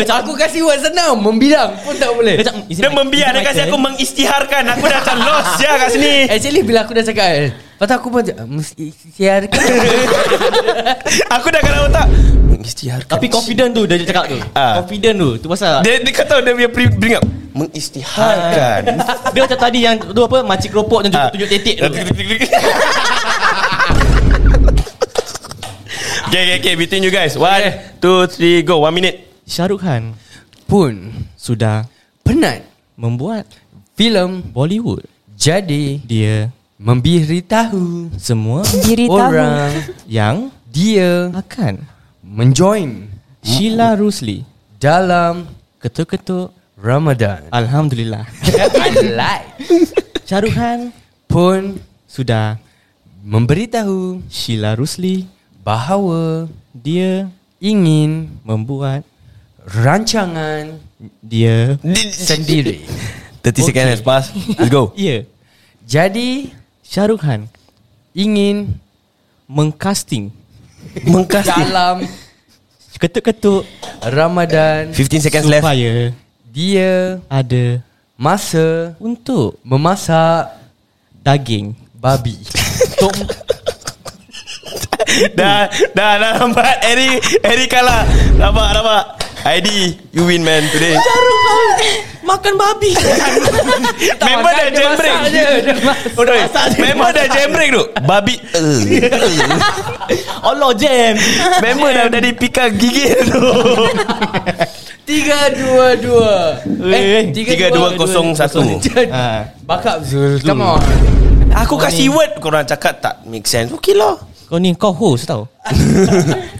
[SPEAKER 2] Aku kasih word senang Membilang pun tak boleh
[SPEAKER 4] Kejap, is it
[SPEAKER 3] Dia
[SPEAKER 4] my-
[SPEAKER 3] membiar
[SPEAKER 4] is it
[SPEAKER 3] Dia
[SPEAKER 4] my
[SPEAKER 3] kasi
[SPEAKER 4] turn?
[SPEAKER 3] aku mengistiharkan Aku dah macam lost ya kat sini
[SPEAKER 2] Actually bila aku dah cakap eh, Lepas tu aku pun cakap, Mesti siarkan
[SPEAKER 3] Aku dah kat dalam otak Mengistiharkan
[SPEAKER 4] Tapi confident tu Dia cakap tu
[SPEAKER 3] Ah.
[SPEAKER 4] Confident tu Tu pasal
[SPEAKER 3] Dia, dia kata dia punya pre- bring up Ha. Mengistiharkan
[SPEAKER 4] Dia macam tadi yang Tu apa Makcik keropok Yang
[SPEAKER 3] Ah.
[SPEAKER 4] tunjuk- tunjuk titik tu
[SPEAKER 3] Okay okay okay Between you guys One Two three go One minute
[SPEAKER 4] Syahrukh Khan
[SPEAKER 2] Pun
[SPEAKER 4] Sudah
[SPEAKER 2] Penat
[SPEAKER 4] Membuat
[SPEAKER 2] Filem
[SPEAKER 4] Bollywood
[SPEAKER 2] Jadi
[SPEAKER 4] Dia
[SPEAKER 2] Memberitahu
[SPEAKER 4] Semua
[SPEAKER 5] Diri tahu.
[SPEAKER 2] Orang
[SPEAKER 4] Yang
[SPEAKER 2] Dia
[SPEAKER 4] Akan
[SPEAKER 2] Menjoin
[SPEAKER 4] Sheila Rusli
[SPEAKER 2] Dalam
[SPEAKER 4] Ketuk-ketuk
[SPEAKER 2] Ramadan
[SPEAKER 4] Alhamdulillah
[SPEAKER 2] I like
[SPEAKER 4] Syahrukh Khan
[SPEAKER 2] Pun
[SPEAKER 4] Sudah
[SPEAKER 2] Memberitahu
[SPEAKER 4] Sheila Rusli
[SPEAKER 2] Bahawa
[SPEAKER 4] Dia
[SPEAKER 2] Ingin
[SPEAKER 4] Membuat
[SPEAKER 2] Rancangan
[SPEAKER 4] Dia
[SPEAKER 2] Sendiri
[SPEAKER 3] 30
[SPEAKER 4] seconds has
[SPEAKER 3] pass Let's go
[SPEAKER 4] Ya
[SPEAKER 2] Jadi
[SPEAKER 4] Syahrukh Khan
[SPEAKER 2] Ingin
[SPEAKER 4] Mengcasting
[SPEAKER 3] Mengkasih
[SPEAKER 2] Dalam
[SPEAKER 4] Ketuk-ketuk
[SPEAKER 2] Ramadan
[SPEAKER 3] 15 seconds left
[SPEAKER 4] Supaya
[SPEAKER 2] Dia
[SPEAKER 4] Ada
[SPEAKER 2] Masa
[SPEAKER 4] Untuk
[SPEAKER 2] Memasak
[SPEAKER 4] Daging
[SPEAKER 2] Babi
[SPEAKER 4] Tok
[SPEAKER 3] Dah Dah dah nampak Eri Eri kalah Nampak nampak ID You win man today
[SPEAKER 4] Makan babi
[SPEAKER 3] Member dah jam break Oi, Member dah jam break tu Babi eh.
[SPEAKER 4] Allah jam
[SPEAKER 3] Member dah dari pika gigit tu
[SPEAKER 2] Tiga dua dua
[SPEAKER 4] Eh,
[SPEAKER 3] tiga, dua, kosong, satu.
[SPEAKER 4] ha.
[SPEAKER 2] Bakap Zul Come on
[SPEAKER 3] Aku kasih word Korang cakap tak make sense Okay lah
[SPEAKER 4] Kau ni kau host tau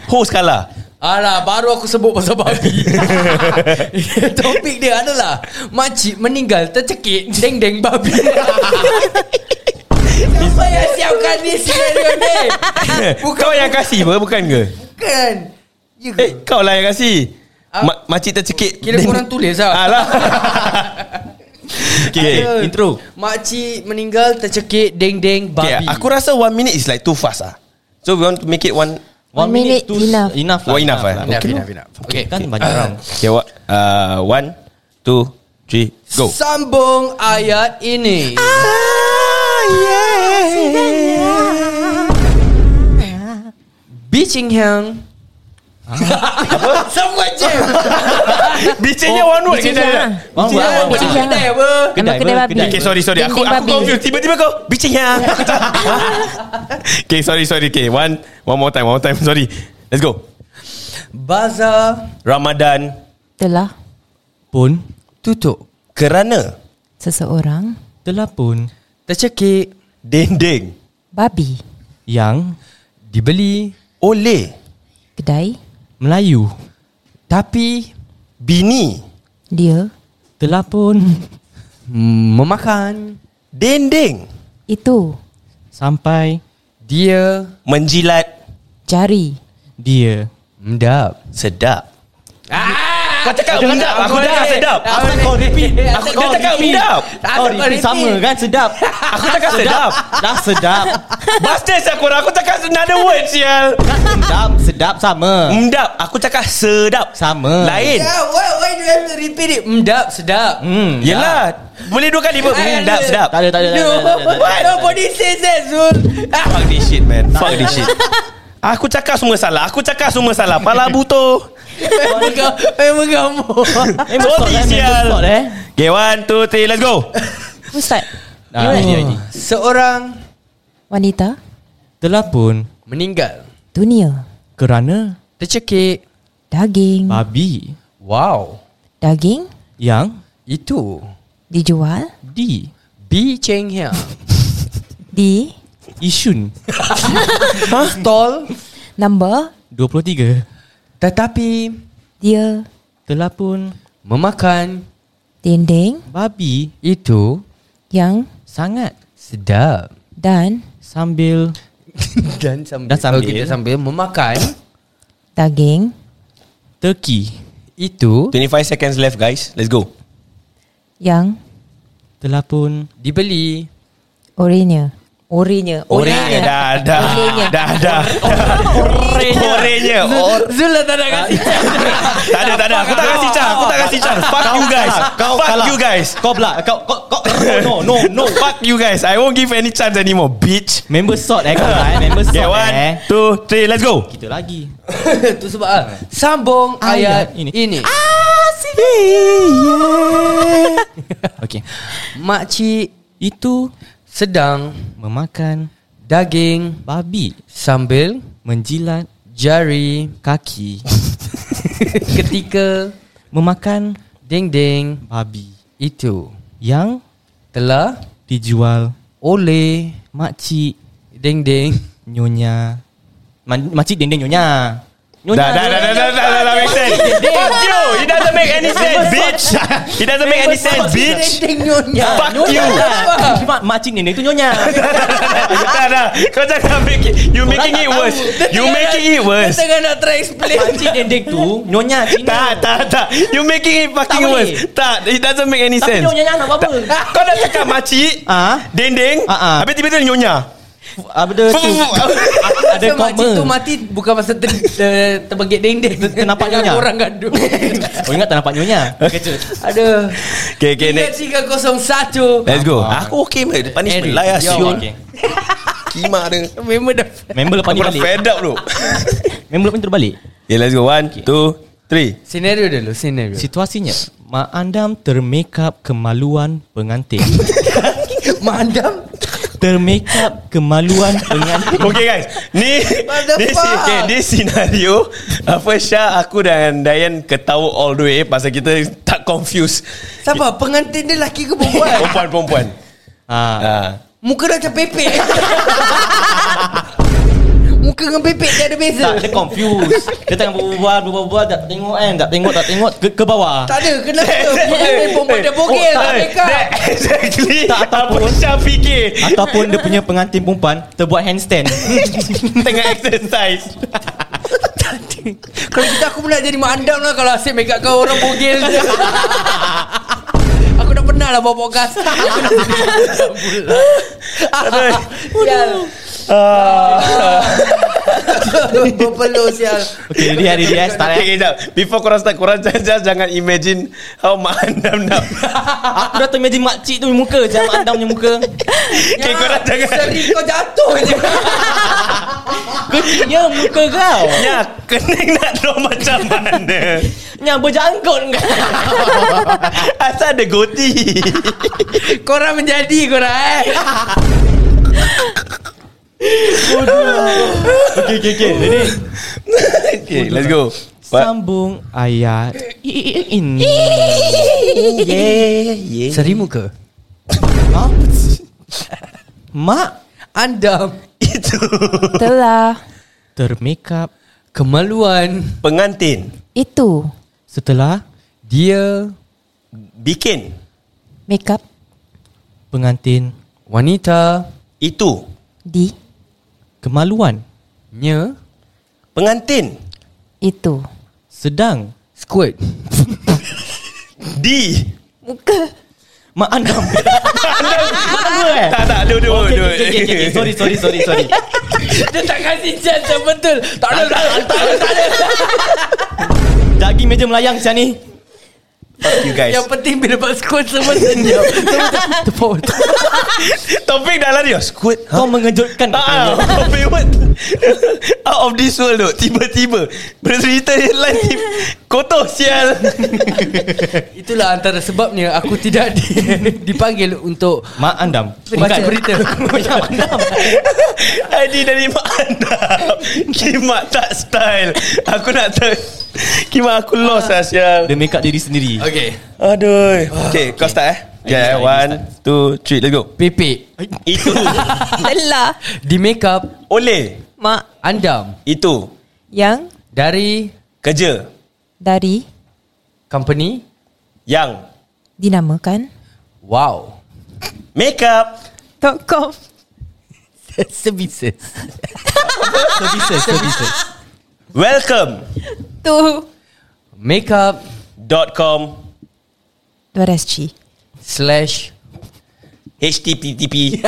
[SPEAKER 3] Host kalah
[SPEAKER 2] Alah baru aku sebut pasal babi Topik dia adalah Makcik meninggal tercekik Deng-deng babi Siapa yang siapkan ni Scenario ni Ah,
[SPEAKER 3] Bukan Kau yang kasih apa Bukan ke
[SPEAKER 2] Bukan You
[SPEAKER 3] Eh kau lah yang kasih
[SPEAKER 2] Ah.
[SPEAKER 3] Ma- Makcik tercekik
[SPEAKER 2] Kira korang tulis lah.
[SPEAKER 3] Alah Okay,
[SPEAKER 2] Ada.
[SPEAKER 3] intro
[SPEAKER 2] Makcik meninggal tercekik Deng-deng
[SPEAKER 3] okay,
[SPEAKER 2] babi
[SPEAKER 3] Aku rasa one minute is like too fast ah. So we want to make it one
[SPEAKER 5] One minute
[SPEAKER 4] two-
[SPEAKER 5] enough.
[SPEAKER 4] Enough lah
[SPEAKER 3] Oh, enough, eh?
[SPEAKER 4] lah.
[SPEAKER 2] Enough, enough, enough. Okay.
[SPEAKER 4] Kan banyak orang
[SPEAKER 3] Okay what uh, One Two Three Go
[SPEAKER 2] Sambung ayat ini Bichinghang Sama je Oh, lah.
[SPEAKER 3] Biciknya one word je dah.
[SPEAKER 2] Jangan
[SPEAKER 4] One word, one word.
[SPEAKER 2] pergi kedai apa
[SPEAKER 5] Kedai, kedai
[SPEAKER 4] apa?
[SPEAKER 5] babi.
[SPEAKER 4] Kedai.
[SPEAKER 3] Okay sorry sorry Aku
[SPEAKER 5] Dinding
[SPEAKER 3] aku
[SPEAKER 5] babi.
[SPEAKER 3] confused Tiba-tiba kau Biciknya Okay sorry sorry Okay one One more time One more time Sorry Let's go
[SPEAKER 2] Bazar
[SPEAKER 3] Ramadan
[SPEAKER 5] Telah
[SPEAKER 4] Pun
[SPEAKER 2] tutup
[SPEAKER 3] Kerana
[SPEAKER 5] seseorang
[SPEAKER 4] Telah pun
[SPEAKER 2] Tercekik
[SPEAKER 3] Dinding
[SPEAKER 5] babi
[SPEAKER 4] Yang
[SPEAKER 2] Dibeli
[SPEAKER 3] Oleh
[SPEAKER 5] kedai
[SPEAKER 4] Melayu
[SPEAKER 2] Tapi
[SPEAKER 3] Bini
[SPEAKER 5] dia
[SPEAKER 4] Telah pun
[SPEAKER 2] memakan,
[SPEAKER 3] Dinding
[SPEAKER 5] Itu
[SPEAKER 4] Sampai
[SPEAKER 2] dia
[SPEAKER 3] Menjilat
[SPEAKER 5] Jari
[SPEAKER 4] dia
[SPEAKER 2] mendap.
[SPEAKER 3] Sedap ah, Kau cakap sedap Aku
[SPEAKER 2] Aku
[SPEAKER 3] cakap
[SPEAKER 2] dah-
[SPEAKER 3] sedap
[SPEAKER 2] Aku
[SPEAKER 4] Asal kau repeat
[SPEAKER 2] Asal
[SPEAKER 3] kau repeat.
[SPEAKER 2] Asal
[SPEAKER 4] Kau
[SPEAKER 2] kau
[SPEAKER 4] repeat
[SPEAKER 2] repeat.
[SPEAKER 4] sama kan sedap
[SPEAKER 3] Aku cakap sedap
[SPEAKER 4] Dah sedap
[SPEAKER 3] Bastard sial korang Aku cakap another word sial
[SPEAKER 4] Dah sedap Sedap sama
[SPEAKER 3] Mendap Aku cakap sedap Mm.
[SPEAKER 4] Sama
[SPEAKER 3] Lain
[SPEAKER 2] Yeah, why, why do you have to repeat it? Mendap, sedap.
[SPEAKER 4] Hmm
[SPEAKER 3] Yelah Boleh dua kali pun Mendap Hmm, sedap
[SPEAKER 4] Tak ada tak ada
[SPEAKER 2] No,
[SPEAKER 4] tak ada, tak ada, tak ada, tak ada.
[SPEAKER 2] nobody says that, Zul.
[SPEAKER 3] Fuck this shit man Fuck this shit Aku cakap semua salah Aku cakap semua salah Pala buto
[SPEAKER 2] Memang kau, memang kamu.
[SPEAKER 3] Sorry,
[SPEAKER 4] Memang stop, eh, memang
[SPEAKER 3] sial.
[SPEAKER 4] stop, eh.
[SPEAKER 3] Okay one two three Let's go
[SPEAKER 5] Who start? You
[SPEAKER 4] Ah, ini,
[SPEAKER 5] right?
[SPEAKER 4] ini.
[SPEAKER 2] Seorang
[SPEAKER 5] Wanita
[SPEAKER 4] Telah pun
[SPEAKER 2] meninggal
[SPEAKER 5] Dunia
[SPEAKER 4] Kerana
[SPEAKER 2] tercekik.
[SPEAKER 5] Daging
[SPEAKER 4] Babi
[SPEAKER 2] Wow,
[SPEAKER 5] Daging
[SPEAKER 4] Yang
[SPEAKER 2] itu
[SPEAKER 5] Dijual
[SPEAKER 4] Di
[SPEAKER 2] B Cheng Hiang
[SPEAKER 5] Di
[SPEAKER 4] Isun
[SPEAKER 2] stall
[SPEAKER 5] Number
[SPEAKER 4] 23
[SPEAKER 2] tetapi
[SPEAKER 5] Dia
[SPEAKER 4] Telah pun
[SPEAKER 2] memakan
[SPEAKER 5] Dinding
[SPEAKER 4] Babi
[SPEAKER 2] itu
[SPEAKER 5] Yang
[SPEAKER 4] Sangat
[SPEAKER 2] sedap
[SPEAKER 5] Dan
[SPEAKER 4] Sambil
[SPEAKER 2] dan sambil,
[SPEAKER 4] Dan sambil.
[SPEAKER 2] okay, dan sambil memakan
[SPEAKER 5] Daging
[SPEAKER 4] Teki
[SPEAKER 2] itu
[SPEAKER 3] 25 seconds left guys Let's go
[SPEAKER 5] Yang
[SPEAKER 4] Telah pun
[SPEAKER 2] dibeli
[SPEAKER 5] Oranye Oranye
[SPEAKER 3] Oranye Dah dah
[SPEAKER 5] Oranye.
[SPEAKER 3] Dah dah Oranye Or-
[SPEAKER 2] Zul dah tak nak kasi
[SPEAKER 3] Tak ada tak ada Aku tak kasi chance Aku tak kasi chance Fuck you guys Fuck you guys
[SPEAKER 4] Kau pula Kau kau, kau No no no
[SPEAKER 3] No fuck you guys I won't give any chance anymore Bitch
[SPEAKER 4] Member sort eh kau lah eh Member sort
[SPEAKER 3] Okay one
[SPEAKER 4] eh
[SPEAKER 3] two three Let's go
[SPEAKER 4] Kita lagi
[SPEAKER 2] Itu sebab ah, Sambung ayat,
[SPEAKER 4] Ayat
[SPEAKER 2] ini, ini.
[SPEAKER 4] ini. Okay
[SPEAKER 2] Makcik
[SPEAKER 4] Itu
[SPEAKER 2] sedang
[SPEAKER 4] Memakan
[SPEAKER 2] daging
[SPEAKER 4] Babi
[SPEAKER 2] sambil
[SPEAKER 4] Menjilat
[SPEAKER 2] jari
[SPEAKER 4] Kaki
[SPEAKER 2] ketika
[SPEAKER 4] Memakan
[SPEAKER 2] dinding
[SPEAKER 4] Babi
[SPEAKER 2] itu
[SPEAKER 4] Yang
[SPEAKER 2] telah
[SPEAKER 4] Dijual
[SPEAKER 2] oleh
[SPEAKER 4] Makcik
[SPEAKER 2] dinding
[SPEAKER 4] Nyonya Man, Makcik dinding nyonya Nyonya
[SPEAKER 3] Dah dah dah dah dah dah dah dah make sense Fuck you It doesn't make any sense bitch It doesn't make any sense bitch
[SPEAKER 4] Ya,
[SPEAKER 2] nyonya
[SPEAKER 3] Fuck you
[SPEAKER 4] Mak, lah. Makcik dinding tu nyonya
[SPEAKER 3] Dah dah Kau jangan make it You making it worse You making it worse
[SPEAKER 2] Kita tengah nak try explain
[SPEAKER 4] Makcik dinding tu Nyonya Cina
[SPEAKER 3] Tak tak tak You making it fucking
[SPEAKER 4] Tak boleh.
[SPEAKER 3] worse Tak It doesn't make any
[SPEAKER 4] Tapi
[SPEAKER 3] sense
[SPEAKER 4] nyonya nak buat apa
[SPEAKER 3] Kau dah cakap makcik
[SPEAKER 4] Ah.
[SPEAKER 3] Dendeng
[SPEAKER 4] Ah, ah.
[SPEAKER 3] Habis tiba-tiba nyonya
[SPEAKER 4] Ah, Benda tu Ada
[SPEAKER 2] Ada makcik tu
[SPEAKER 4] koma
[SPEAKER 2] mati bukan masa ter, ter, terbegit dinding
[SPEAKER 4] Kenapa nyonya?
[SPEAKER 2] Orang gaduh
[SPEAKER 4] Oh ingat tak nampak nyonya
[SPEAKER 2] Aduh
[SPEAKER 3] Okay okay
[SPEAKER 2] Ingat
[SPEAKER 3] next
[SPEAKER 2] 301
[SPEAKER 3] Let's go Ah, Aku okay mate Punishment
[SPEAKER 2] Eric.
[SPEAKER 3] lah ya
[SPEAKER 2] Yo.
[SPEAKER 3] Siul
[SPEAKER 4] Okay.
[SPEAKER 3] Kima dia
[SPEAKER 2] Memang dah
[SPEAKER 4] Member lepas
[SPEAKER 3] Aku
[SPEAKER 4] ni
[SPEAKER 3] dah
[SPEAKER 4] balik
[SPEAKER 3] fed up bro
[SPEAKER 4] Member lepas ni terbalik
[SPEAKER 3] Okay let's go One Two Three
[SPEAKER 2] Scenario dulu Scenario
[SPEAKER 4] Situasinya Mak Andam termekap kemaluan pengantin
[SPEAKER 2] Mandam
[SPEAKER 4] Termekap kemaluan pengantin
[SPEAKER 3] Okay guys Ni
[SPEAKER 2] What the
[SPEAKER 3] this,
[SPEAKER 2] fuck?
[SPEAKER 3] okay, this scenario Apa Syah Aku dan Dayan Ketawa all the way Pasal kita Tak confused
[SPEAKER 2] Siapa? Pengantin dia lelaki ke perempuan?
[SPEAKER 3] Perempuan-perempuan
[SPEAKER 4] ha,
[SPEAKER 3] ah.
[SPEAKER 2] Muka dah macam pepek Muka dengan pepek dia ada beza
[SPEAKER 4] Tak dia confused Dia tengah berbual Berbual-bual Tak tengok kan Tak tengok Tak tengok Ke, ke bawah
[SPEAKER 2] Tak ada Kenapa Pengantin perempuan dia bogel Tak
[SPEAKER 3] Eh,
[SPEAKER 2] make up
[SPEAKER 3] that Exactly
[SPEAKER 4] Tak,
[SPEAKER 3] Apa
[SPEAKER 4] ataupun-
[SPEAKER 3] Syah fikir
[SPEAKER 4] Ataupun dia punya pengantin perempuan Terbuat handstand
[SPEAKER 3] Tengah exercise
[SPEAKER 2] Kalau kita aku pula jadi mak andam lah Kalau asyik make up kau orang bogel je Aku dah pernah lah bawa podcast Aku dah pernah Sial Berpeluh sial
[SPEAKER 4] Okay ready ready eh Start eh
[SPEAKER 3] Okay kejap Before korang start Korang just, just jangan imagine How Mak Andam nak
[SPEAKER 4] Aku dah termagine makcik tu punya muka Macam Mak Andam punya muka
[SPEAKER 3] Okay korang jangan
[SPEAKER 2] Seri kau jatuh je
[SPEAKER 4] Kecilnya muka kau
[SPEAKER 3] Ya Kening nak draw macam mana
[SPEAKER 4] Yang berjangkut kau
[SPEAKER 3] Asal ada goti
[SPEAKER 2] Korang menjadi korang eh
[SPEAKER 4] Okay okay okay Ready
[SPEAKER 3] Okay let's go What?
[SPEAKER 4] Sambung ayat ini
[SPEAKER 3] Yeah, yeah.
[SPEAKER 2] Seri muka
[SPEAKER 4] Apa sih? Mak
[SPEAKER 2] Andam
[SPEAKER 5] Telah
[SPEAKER 4] termekap
[SPEAKER 2] Kemaluan
[SPEAKER 3] Pengantin
[SPEAKER 5] Itu
[SPEAKER 4] setelah
[SPEAKER 2] Dia
[SPEAKER 3] Bikin
[SPEAKER 5] Makeup
[SPEAKER 4] pengantin,
[SPEAKER 2] Wanita
[SPEAKER 3] Itu
[SPEAKER 5] Di
[SPEAKER 4] kemaluan,
[SPEAKER 2] Nya
[SPEAKER 3] Pengantin
[SPEAKER 5] Itu
[SPEAKER 4] sedang,
[SPEAKER 2] Squid
[SPEAKER 3] Di
[SPEAKER 5] Muka
[SPEAKER 4] mak andam. Apa eh?
[SPEAKER 3] Tak tak Duduk
[SPEAKER 4] Okay,
[SPEAKER 3] duduk
[SPEAKER 4] okay, okay, okay. Sorry, sorry, sorry, sorry.
[SPEAKER 2] Dia tak kasi chance yang betul Tak ada lah. tak ada tak ada, tak ada.
[SPEAKER 4] Daging meja melayang siang ni.
[SPEAKER 3] Fuck you guys
[SPEAKER 2] Yang penting bila buat squid semua senyum Semua macam, Tepuk
[SPEAKER 3] Topik dah lari oh, Squid
[SPEAKER 4] Kau mengejutkan.
[SPEAKER 3] Ah, ah, favorite Out of this world tu Tiba-tiba Bercerita headline ni Kotor sial
[SPEAKER 2] Itulah antara sebabnya Aku tidak di, dipanggil untuk
[SPEAKER 4] Mak andam.
[SPEAKER 2] Baca berita
[SPEAKER 3] Adi dari Mak Anda Kimak tak style Aku nak ter Kimak aku lost lah sial
[SPEAKER 4] Dia make up diri sendiri.
[SPEAKER 2] Okay
[SPEAKER 3] Aduh Okay kau start eh Okay
[SPEAKER 4] start, I
[SPEAKER 3] one Two three let's go
[SPEAKER 2] Pepek
[SPEAKER 3] Itu
[SPEAKER 5] Telah
[SPEAKER 2] Di make up
[SPEAKER 3] Oleh
[SPEAKER 5] Mak
[SPEAKER 2] Andam
[SPEAKER 3] Itu
[SPEAKER 5] Yang
[SPEAKER 2] Dari
[SPEAKER 3] Kerja
[SPEAKER 5] Dari
[SPEAKER 2] Company
[SPEAKER 3] Yang
[SPEAKER 5] Dinamakan
[SPEAKER 2] Wow
[SPEAKER 3] Make up
[SPEAKER 5] .com
[SPEAKER 2] Services
[SPEAKER 4] Services, services.
[SPEAKER 3] Welcome
[SPEAKER 5] Tu
[SPEAKER 2] Make up
[SPEAKER 3] Dot com
[SPEAKER 5] 2SG
[SPEAKER 2] Slash
[SPEAKER 3] HTTP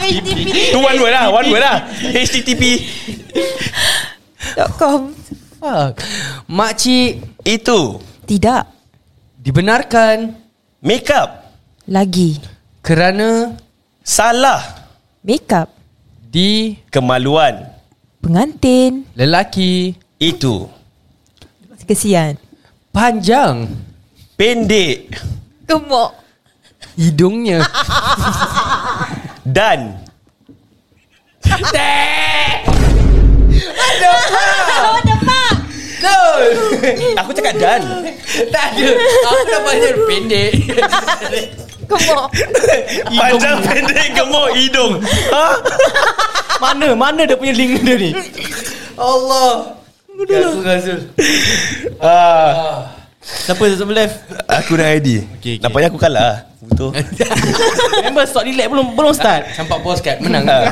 [SPEAKER 5] HTTP
[SPEAKER 3] Tu one word lah One word lah HTTP
[SPEAKER 5] .com
[SPEAKER 2] Fuck Makcik
[SPEAKER 3] Itu
[SPEAKER 5] Tidak
[SPEAKER 2] Dibenarkan
[SPEAKER 3] Make up
[SPEAKER 5] Lagi
[SPEAKER 2] Kerana
[SPEAKER 3] Salah
[SPEAKER 5] Makeup
[SPEAKER 2] Di
[SPEAKER 3] Kemaluan
[SPEAKER 5] Pengantin
[SPEAKER 2] Lelaki
[SPEAKER 3] Itu
[SPEAKER 5] Kesian
[SPEAKER 2] Panjang
[SPEAKER 3] Pendek
[SPEAKER 5] Gemuk
[SPEAKER 2] Hidungnya
[SPEAKER 3] Dan Aku cakap dan
[SPEAKER 2] Tak ada Aku dah panjang pendek
[SPEAKER 5] Gemuk
[SPEAKER 3] Panjang pendek gemuk hidung ha?
[SPEAKER 4] Mana, mana dia punya link dia ni?
[SPEAKER 2] Allah Aku rasa
[SPEAKER 3] Ya, ah,
[SPEAKER 4] Siapa siapa left?
[SPEAKER 3] Aku dah ID okay,
[SPEAKER 4] Okay,
[SPEAKER 3] okay.
[SPEAKER 4] okay.
[SPEAKER 3] Nampaknya aku kalah Betul
[SPEAKER 4] Remember start relax belum belum start.
[SPEAKER 2] Campak bos kat menang
[SPEAKER 3] Ha.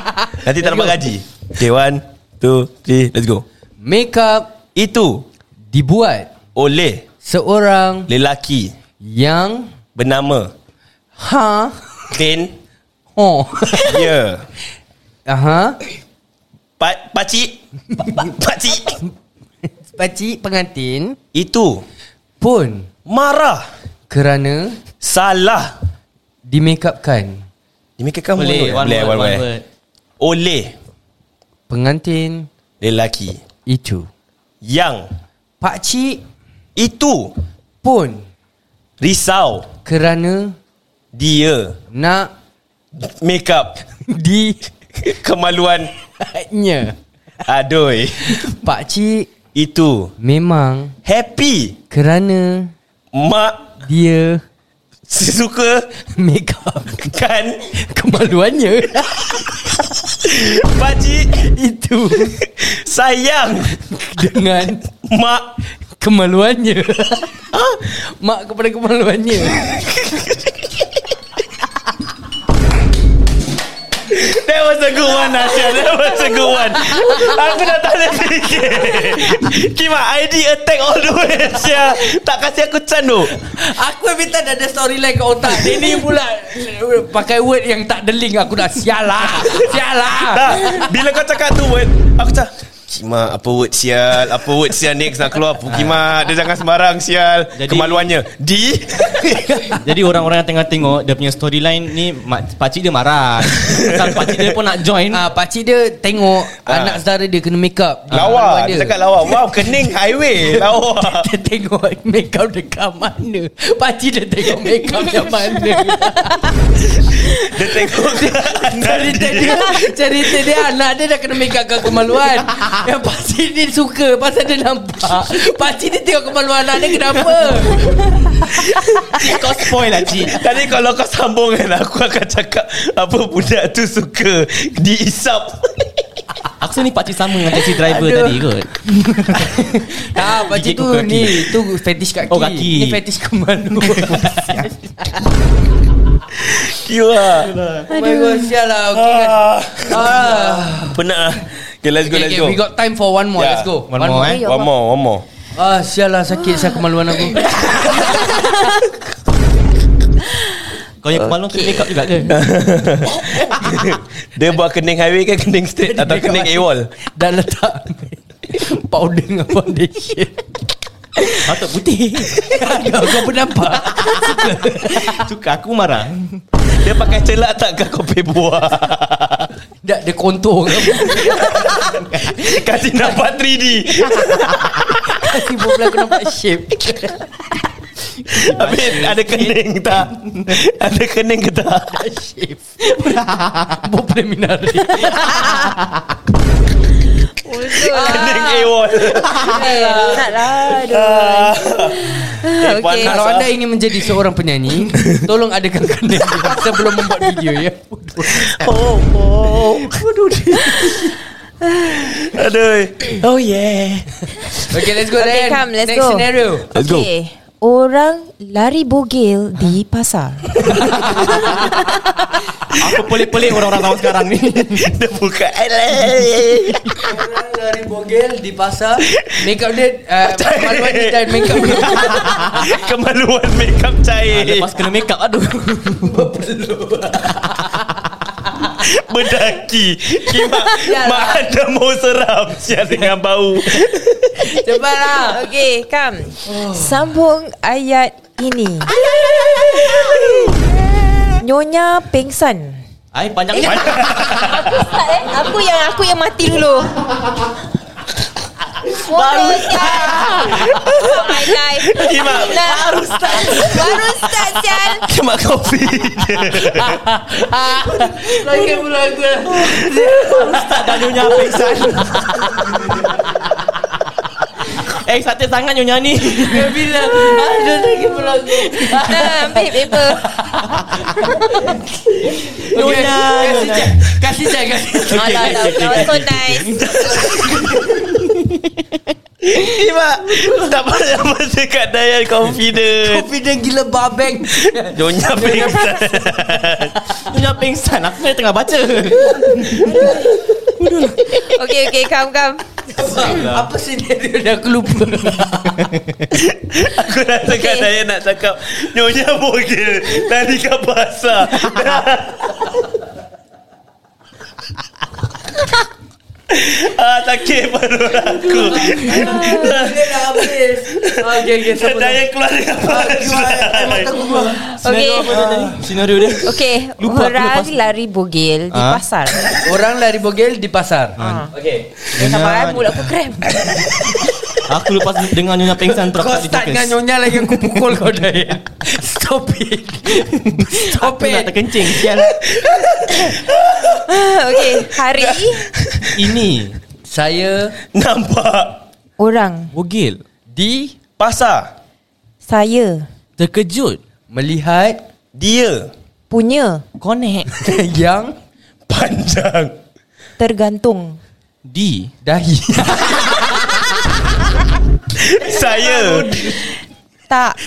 [SPEAKER 3] Nanti tak dapat gaji Okay one Two Three Let's go
[SPEAKER 2] Makeup
[SPEAKER 3] Itu
[SPEAKER 2] Dibuat
[SPEAKER 3] Oleh
[SPEAKER 2] Seorang
[SPEAKER 3] Lelaki
[SPEAKER 2] Yang
[SPEAKER 3] Bernama
[SPEAKER 2] Ha
[SPEAKER 3] Ben
[SPEAKER 2] Oh
[SPEAKER 3] Ya
[SPEAKER 2] Aha
[SPEAKER 3] pa- Pakcik Pa- Pakcik
[SPEAKER 2] Pakcik pengantin
[SPEAKER 3] Itu
[SPEAKER 2] Pun
[SPEAKER 3] Marah
[SPEAKER 2] Kerana
[SPEAKER 3] Salah
[SPEAKER 2] Dimakeupkan
[SPEAKER 3] Dimikirkan
[SPEAKER 4] Boleh, one word, one word.
[SPEAKER 3] Oleh
[SPEAKER 2] Pengantin
[SPEAKER 3] Lelaki
[SPEAKER 2] Itu
[SPEAKER 3] Yang
[SPEAKER 2] Pakcik
[SPEAKER 3] Itu
[SPEAKER 2] Pun
[SPEAKER 3] Risau
[SPEAKER 2] Kerana
[SPEAKER 3] Dia
[SPEAKER 2] Nak
[SPEAKER 3] Make up
[SPEAKER 2] Di
[SPEAKER 3] Kemaluan
[SPEAKER 2] Nya
[SPEAKER 3] Aduh
[SPEAKER 2] Pakcik
[SPEAKER 3] Itu
[SPEAKER 2] Memang
[SPEAKER 3] Happy
[SPEAKER 2] Kerana
[SPEAKER 3] Mak
[SPEAKER 2] Dia
[SPEAKER 3] Suka
[SPEAKER 2] Make up
[SPEAKER 3] Kan
[SPEAKER 2] Kemaluannya
[SPEAKER 3] Pakcik
[SPEAKER 2] Itu
[SPEAKER 3] Sayang
[SPEAKER 2] Dengan
[SPEAKER 3] Mak
[SPEAKER 2] Kemaluannya Mak kepada kemaluannya
[SPEAKER 3] That was a good one Nasya That was a good one Aku dah tak boleh fikir Kima ID attack all the way Nasya Tak kasih aku chance tu
[SPEAKER 2] Aku habis tak ada storyline kat otak Dia ni pula Pakai word yang tak ada link Aku dah sial lah Sial lah
[SPEAKER 3] Tak Bila kau cakap tu word Aku cakap Kima apa word sial Apa word sial next nak keluar apa Kima Dia jangan sembarang sial
[SPEAKER 4] Jadi-
[SPEAKER 3] Kemaluannya Di
[SPEAKER 4] Jadi orang-orang yang tengah tengok dia punya storyline ni mak, pakcik dia marah. Pasal pakcik dia pun nak join.
[SPEAKER 2] Ah, Pakcik dia tengok Anak saudara dia kena make up Ah, Dia
[SPEAKER 3] Ah. Lawa
[SPEAKER 2] keluar
[SPEAKER 3] Dia cakap lawa Wow kening highway Lawa
[SPEAKER 2] Dia tengok make up dekat mana Pakcik dia tengok make up yang mana
[SPEAKER 3] Dia tengok
[SPEAKER 2] Cerita dia Cerita dia anak dia dah kena make up kat kemaluan Yang pakcik dia suka Pasal dia nampak Pakcik dia tengok kemaluan anak dia kenapa
[SPEAKER 4] Kau spoil lah cik.
[SPEAKER 3] Tadi kalau kau sambung kan Aku akan cakap Apa budak tu suka Diisap
[SPEAKER 4] Aku rasa ni pakcik sama dengan taxi driver
[SPEAKER 2] Aduh.
[SPEAKER 4] tadi kot.
[SPEAKER 2] Tak pakcik
[SPEAKER 4] Gigit
[SPEAKER 2] tu
[SPEAKER 4] kuku kaki.
[SPEAKER 2] ni Tu fetish kaki
[SPEAKER 4] Oh, kaki.
[SPEAKER 2] Ni fetish kemaluan
[SPEAKER 3] Kira lah
[SPEAKER 2] Oh my god Sial lah Okay guys
[SPEAKER 3] ah.
[SPEAKER 2] ah.
[SPEAKER 3] Penat lah Okay let's go
[SPEAKER 2] Okay,
[SPEAKER 3] let's
[SPEAKER 2] okay,
[SPEAKER 3] go
[SPEAKER 2] we got time for one more.
[SPEAKER 3] Yeah.
[SPEAKER 2] Let's go.
[SPEAKER 4] One more, eh?
[SPEAKER 3] One more One more
[SPEAKER 2] Ah, sial lah sakit saya kemaluan aku.
[SPEAKER 4] Kau yang kemaluan kena make up juga ke?
[SPEAKER 3] Dia buat kening highway ke Kening straight Atau kening AWOL
[SPEAKER 2] Dah letak powder dengan foundation.
[SPEAKER 4] Patut putih.
[SPEAKER 2] Kau Ya, kau pun nampak.
[SPEAKER 4] Suka aku marah.
[SPEAKER 3] Dia pakai celak tak ke kopi buah
[SPEAKER 2] Dah dia kontur kau.
[SPEAKER 3] Kasih nampak 3D
[SPEAKER 2] Kasi bola aku nampak shape.
[SPEAKER 3] Habis ada kening tak Ada kening ke tak
[SPEAKER 2] Shape. Bola minari.
[SPEAKER 3] Kening AWOL
[SPEAKER 5] Tak lah
[SPEAKER 3] Ah. Eh,
[SPEAKER 5] Okay.
[SPEAKER 3] panas
[SPEAKER 2] Kalau
[SPEAKER 3] ah.
[SPEAKER 2] anda ingin menjadi seorang penyanyi, tolong adakan kening sebelum membuat video ya.
[SPEAKER 3] Oh, oh. Aduh. Oh yeah.
[SPEAKER 2] Okay, let's go then.
[SPEAKER 5] Okay come let's
[SPEAKER 2] Next
[SPEAKER 5] go
[SPEAKER 2] scenario.
[SPEAKER 3] Let's go.
[SPEAKER 5] Okay Orang lari bogel di pasar
[SPEAKER 4] Apa pelik-pelik orang-orang tahu sekarang ni.
[SPEAKER 3] Dia buka
[SPEAKER 2] Orang dari bogel di pasar, makeup dia uh, maluan dia dan makeup dia.
[SPEAKER 3] Kemaluan makeup
[SPEAKER 2] Ah,
[SPEAKER 3] cair.
[SPEAKER 4] Lepas kena make up aduh.
[SPEAKER 3] Berdaki. Kimak
[SPEAKER 2] Ya lah.
[SPEAKER 3] mak anda mau seram sial dengan bau.
[SPEAKER 2] Cepatlah.
[SPEAKER 5] Okay come Sambung ayat ini Nyonya pengsan
[SPEAKER 4] Ai panjang ni.
[SPEAKER 5] Ustaz eh Aku yang aku yang mati dulu Baru Ustaz Oh my life
[SPEAKER 3] Kimak.
[SPEAKER 5] Baru Ustaz Baru Ustaz Sian
[SPEAKER 3] Kimak kopi.
[SPEAKER 2] Sakit pula aku.
[SPEAKER 4] Tak nyonya pingsan. Eh sakit sangat nyonya ni.
[SPEAKER 2] Dia bilang, aduh sakit pula aku.
[SPEAKER 5] Ah, Ambil paper
[SPEAKER 2] Okay,
[SPEAKER 4] Nyonya,
[SPEAKER 2] kasih
[SPEAKER 4] nyonya.
[SPEAKER 2] cek. Kasih cek, kasih cek.
[SPEAKER 5] Alah that was so nice
[SPEAKER 3] Kimak. Eh, Tak payah masa kat Dayan confident.
[SPEAKER 2] Kopi dia gila babeng.
[SPEAKER 3] Nyonya pingsan.
[SPEAKER 4] Nyonya pingsan. Aku ni tengah baca.
[SPEAKER 5] Okay okay come come
[SPEAKER 2] Apa scenario dia aku lupa.
[SPEAKER 3] Aku rasa kat
[SPEAKER 5] Okay.
[SPEAKER 3] Dayan nak cakap Nyonya bogel. Lari kat pasar. ah, sakit perut aku.
[SPEAKER 2] Dia dah habis. Okay, okay,
[SPEAKER 3] Dan
[SPEAKER 2] sama.
[SPEAKER 3] Dayan keluar dengan pasar.
[SPEAKER 5] Okay
[SPEAKER 4] Scenario dia.
[SPEAKER 5] Okay
[SPEAKER 4] Lupa aku
[SPEAKER 5] Orang
[SPEAKER 4] lepas-
[SPEAKER 5] lari bogel Di
[SPEAKER 4] Ah.
[SPEAKER 5] pasar
[SPEAKER 2] Orang lari bogel di pasar. Okay.
[SPEAKER 5] Sampai eh, mulut aku krem
[SPEAKER 4] Aku lepas dengar nyonya pingsan terus
[SPEAKER 2] Kau
[SPEAKER 4] aku
[SPEAKER 2] start
[SPEAKER 4] terjokas.
[SPEAKER 2] dengan nyonya lagi aku pukul kau Dayan. Stop it. Stop
[SPEAKER 4] Aku nak
[SPEAKER 2] it.
[SPEAKER 4] terkencing Sial
[SPEAKER 5] Okay Hari
[SPEAKER 4] Ini
[SPEAKER 2] Saya
[SPEAKER 3] Nampak
[SPEAKER 5] Orang
[SPEAKER 4] Bogil
[SPEAKER 2] di
[SPEAKER 3] Pasar
[SPEAKER 5] Saya
[SPEAKER 4] Terkejut
[SPEAKER 2] melihat
[SPEAKER 3] Dia
[SPEAKER 5] Punya
[SPEAKER 4] Connect
[SPEAKER 2] yang
[SPEAKER 3] Panjang
[SPEAKER 5] Tergantung
[SPEAKER 4] Di
[SPEAKER 2] dahi.
[SPEAKER 3] Saya
[SPEAKER 5] Tak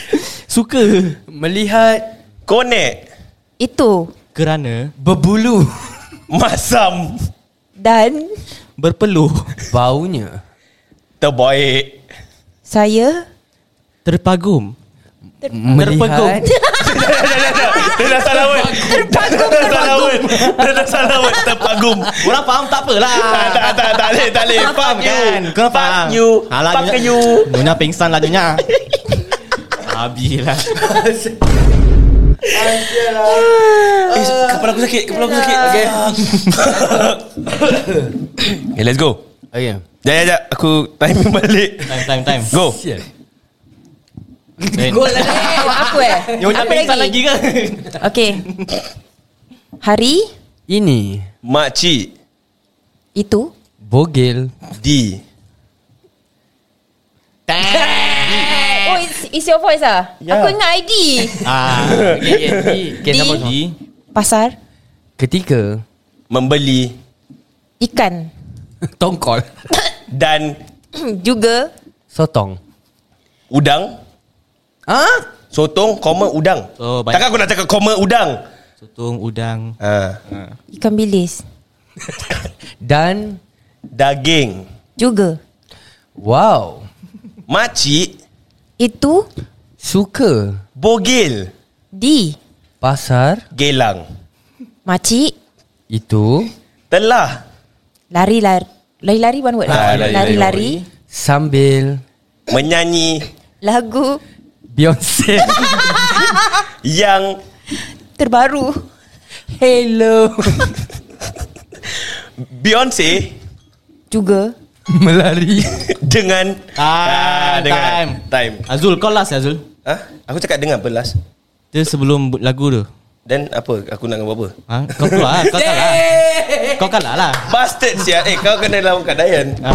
[SPEAKER 4] Suka
[SPEAKER 2] melihat
[SPEAKER 3] Connect
[SPEAKER 5] Itu
[SPEAKER 4] Kerana
[SPEAKER 2] berbulu
[SPEAKER 3] Masam
[SPEAKER 5] Dan
[SPEAKER 4] Berpeluh
[SPEAKER 2] baunya.
[SPEAKER 3] Terbaik
[SPEAKER 5] Saya
[SPEAKER 4] Terpagum
[SPEAKER 2] Melihat
[SPEAKER 3] Dia dah salah word Terpagum Dia dah salah word Dia dah salah word Terpagum
[SPEAKER 4] Orang faham tak apalah
[SPEAKER 3] Ah, Tak tak tak boleh Tak boleh
[SPEAKER 4] Kau
[SPEAKER 3] Fuck you
[SPEAKER 4] faham kan Kau
[SPEAKER 3] Fuck
[SPEAKER 4] faham
[SPEAKER 3] you
[SPEAKER 4] Alah,
[SPEAKER 3] Fuck
[SPEAKER 4] nyonya-
[SPEAKER 3] you
[SPEAKER 4] Nyonya pingsan lah nyonya Habislah
[SPEAKER 3] Eh, Kepala aku sakit Kepala aku sakit Okay Okay let's go
[SPEAKER 2] Okay
[SPEAKER 3] Jap jap jap Aku timing balik
[SPEAKER 4] Time time time
[SPEAKER 3] Go
[SPEAKER 2] Sial
[SPEAKER 4] Then.
[SPEAKER 2] Gol lah
[SPEAKER 5] Oh, Aku eh Apa
[SPEAKER 4] Nyonya pingsan lagi ke
[SPEAKER 5] Okay Hari
[SPEAKER 2] Ini
[SPEAKER 3] Makcik
[SPEAKER 5] Itu
[SPEAKER 2] Bogel
[SPEAKER 3] D
[SPEAKER 5] Oh it's, it's your voice ah yeah. Aku ingat ID
[SPEAKER 4] Ah, okay, okay.
[SPEAKER 5] Di-
[SPEAKER 4] sama sama. Di
[SPEAKER 5] Pasar
[SPEAKER 2] Ketika
[SPEAKER 3] Membeli
[SPEAKER 5] Ikan
[SPEAKER 2] Tongkol
[SPEAKER 3] Dan
[SPEAKER 5] Juga
[SPEAKER 2] Sotong
[SPEAKER 3] Udang
[SPEAKER 2] Ah?
[SPEAKER 3] Sotong, koma udang.
[SPEAKER 2] Ha?
[SPEAKER 3] Oh,
[SPEAKER 4] Oh, banyak.
[SPEAKER 3] Takkan aku nak cakap koma udang.
[SPEAKER 4] Sotong, udang
[SPEAKER 3] Ha.
[SPEAKER 5] Ikan bilis
[SPEAKER 2] Dan
[SPEAKER 3] Daging
[SPEAKER 5] Juga
[SPEAKER 2] Wow
[SPEAKER 3] Makcik
[SPEAKER 5] Itu
[SPEAKER 2] Suka
[SPEAKER 3] Bogil
[SPEAKER 5] Di
[SPEAKER 2] Pasar
[SPEAKER 3] Gelang
[SPEAKER 5] Makcik
[SPEAKER 2] Itu
[SPEAKER 3] Telah
[SPEAKER 5] Lari-lari Lari-lari one word
[SPEAKER 3] Ah, lari-lari.
[SPEAKER 5] Lari-lari
[SPEAKER 2] Sambil
[SPEAKER 3] Menyanyi
[SPEAKER 5] Lagu
[SPEAKER 2] Beyonce
[SPEAKER 3] Yang
[SPEAKER 5] Terbaru
[SPEAKER 2] Hello
[SPEAKER 3] Beyonce
[SPEAKER 5] Juga
[SPEAKER 2] Melari
[SPEAKER 3] Dengan Ah, dengan Time
[SPEAKER 4] Azul kau last Azul
[SPEAKER 3] ha? Aku cakap dengan pelas
[SPEAKER 4] Dia sebelum bu- lagu tu
[SPEAKER 3] Then apa Aku nak buat apa
[SPEAKER 4] ha? Kau keluar Kau kalah Kau kalah lah
[SPEAKER 3] Bastard siap Eh kau kena lawan Kak Dayan
[SPEAKER 4] ha.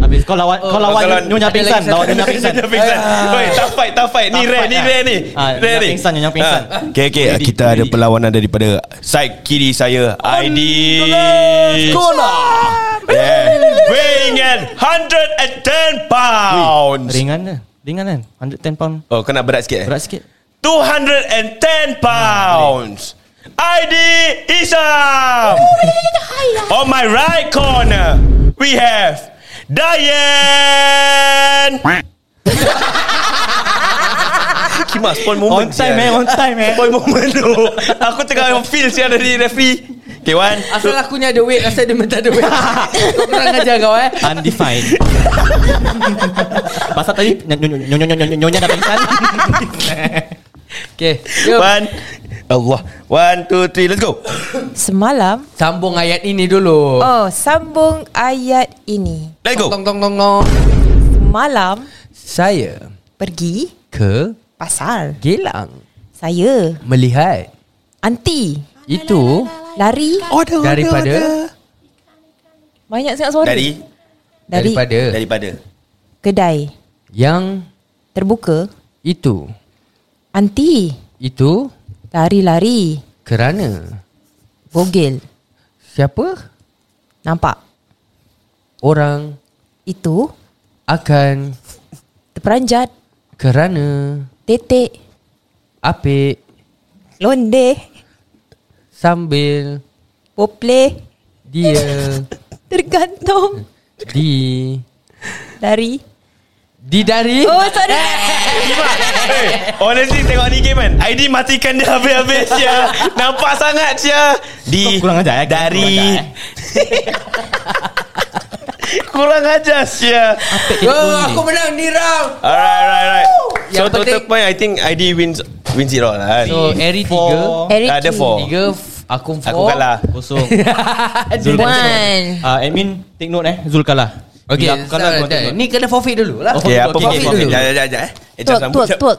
[SPEAKER 4] Habis kau lawan Kau lawan
[SPEAKER 3] kalau-
[SPEAKER 4] Nyonya
[SPEAKER 2] ada lagi
[SPEAKER 4] Pingsan
[SPEAKER 2] satu.
[SPEAKER 4] Lawan Nyonya Pingsan Ah.
[SPEAKER 3] Nyonya Pingsan Oi, tak fight, tak fight Ni
[SPEAKER 4] Tak
[SPEAKER 3] rare,
[SPEAKER 4] fight
[SPEAKER 3] ni
[SPEAKER 4] lah.
[SPEAKER 3] rare ni
[SPEAKER 4] Ah,
[SPEAKER 3] Rare
[SPEAKER 4] Nyonya
[SPEAKER 3] ni
[SPEAKER 4] Pingsan, Nyonya Pingsan.
[SPEAKER 3] Ah, Okay, okay
[SPEAKER 4] Ready,
[SPEAKER 3] Kita ada
[SPEAKER 4] ready.
[SPEAKER 3] perlawanan daripada Side kiri saya ID
[SPEAKER 2] Kola
[SPEAKER 3] Yeah. Weighing in 110 pounds
[SPEAKER 4] Ringan lah Ringan kan 110 pound
[SPEAKER 3] Oh kena berat sikit eh?
[SPEAKER 4] Berat sikit
[SPEAKER 3] 210 pounds. ID Isam. On my right corner, we have Diane. Kimas, spoil moment. sial.
[SPEAKER 4] time eh.
[SPEAKER 3] Spoil moment tu. eh, Aku tengah feel siapa dari referee. Okay, one.
[SPEAKER 2] Asal aku ni ada weight Asal dia minta ada weight Kau kurang ajar kau eh
[SPEAKER 4] Undefined Pasal tadi Nyonya nyonya- nyonya- Nyonya dah pingsan
[SPEAKER 2] Okay Jom.
[SPEAKER 3] One. Allah. One, two, three. Let's go.
[SPEAKER 5] Semalam
[SPEAKER 2] Sambung ayat ini dulu
[SPEAKER 5] Oh sambung ayat ini
[SPEAKER 3] Let's go.
[SPEAKER 2] Tong tong tong tong
[SPEAKER 5] Semalam
[SPEAKER 2] Saya
[SPEAKER 5] Pergi
[SPEAKER 2] Ke
[SPEAKER 5] Pasar
[SPEAKER 2] Gilang
[SPEAKER 5] Saya
[SPEAKER 2] Melihat
[SPEAKER 5] Anti
[SPEAKER 2] Itu
[SPEAKER 5] Lari
[SPEAKER 2] Oh. Daripada
[SPEAKER 5] Banyak sangat suara
[SPEAKER 3] Dari
[SPEAKER 5] Dari,
[SPEAKER 2] Daripada
[SPEAKER 3] daripada
[SPEAKER 5] Kedai
[SPEAKER 2] Yang
[SPEAKER 5] Terbuka
[SPEAKER 2] Itu
[SPEAKER 5] Anti
[SPEAKER 2] Itu
[SPEAKER 5] Lari-lari
[SPEAKER 2] Kerana
[SPEAKER 5] Bogel
[SPEAKER 2] Siapa
[SPEAKER 5] Nampak
[SPEAKER 2] Orang
[SPEAKER 5] Itu
[SPEAKER 2] Akan
[SPEAKER 5] Terperanjat
[SPEAKER 2] Kerana
[SPEAKER 5] Tetek
[SPEAKER 2] Apik
[SPEAKER 5] Londeh
[SPEAKER 2] Sambil
[SPEAKER 5] Popleh
[SPEAKER 2] Dia
[SPEAKER 5] Tergantung
[SPEAKER 2] Di
[SPEAKER 5] Dari
[SPEAKER 2] Di dari
[SPEAKER 5] Oh sorry
[SPEAKER 3] Hey, honestly tengok ni game kan ID matikan dia habis-habis ya. Nampak sangat ya. Di
[SPEAKER 4] Kau kurang ajar, eh?
[SPEAKER 3] Dari
[SPEAKER 4] Kurang ajar, eh?
[SPEAKER 3] Kurang ajar sia.
[SPEAKER 2] oh, Aku menang di round
[SPEAKER 3] Alright alright alright. So
[SPEAKER 2] Yang
[SPEAKER 3] total
[SPEAKER 2] penting-
[SPEAKER 3] point I think ID wins wins it all lah. Kan?
[SPEAKER 2] So Eri tiga
[SPEAKER 5] Eric
[SPEAKER 3] Tak ada
[SPEAKER 5] King.
[SPEAKER 3] four.
[SPEAKER 2] Tiga f- Aku four
[SPEAKER 3] Aku lah. kalah.
[SPEAKER 4] Kosong
[SPEAKER 2] Zul
[SPEAKER 4] Zul
[SPEAKER 5] One
[SPEAKER 4] Ah, Admin take note eh Zul kalah
[SPEAKER 2] Okay
[SPEAKER 4] Bila aku kalah
[SPEAKER 2] so,
[SPEAKER 4] kau
[SPEAKER 2] dah.
[SPEAKER 4] take note
[SPEAKER 2] Ni kena forfeit dulu lah
[SPEAKER 3] Okay,
[SPEAKER 4] Okey,
[SPEAKER 3] apa
[SPEAKER 4] okey,
[SPEAKER 3] okay,
[SPEAKER 4] okey,
[SPEAKER 3] okay, okay.
[SPEAKER 2] okey.
[SPEAKER 3] Jap jap jap eh. Eh,
[SPEAKER 5] Tuak
[SPEAKER 3] jap rambut.
[SPEAKER 5] tuak
[SPEAKER 3] jap.
[SPEAKER 5] tuak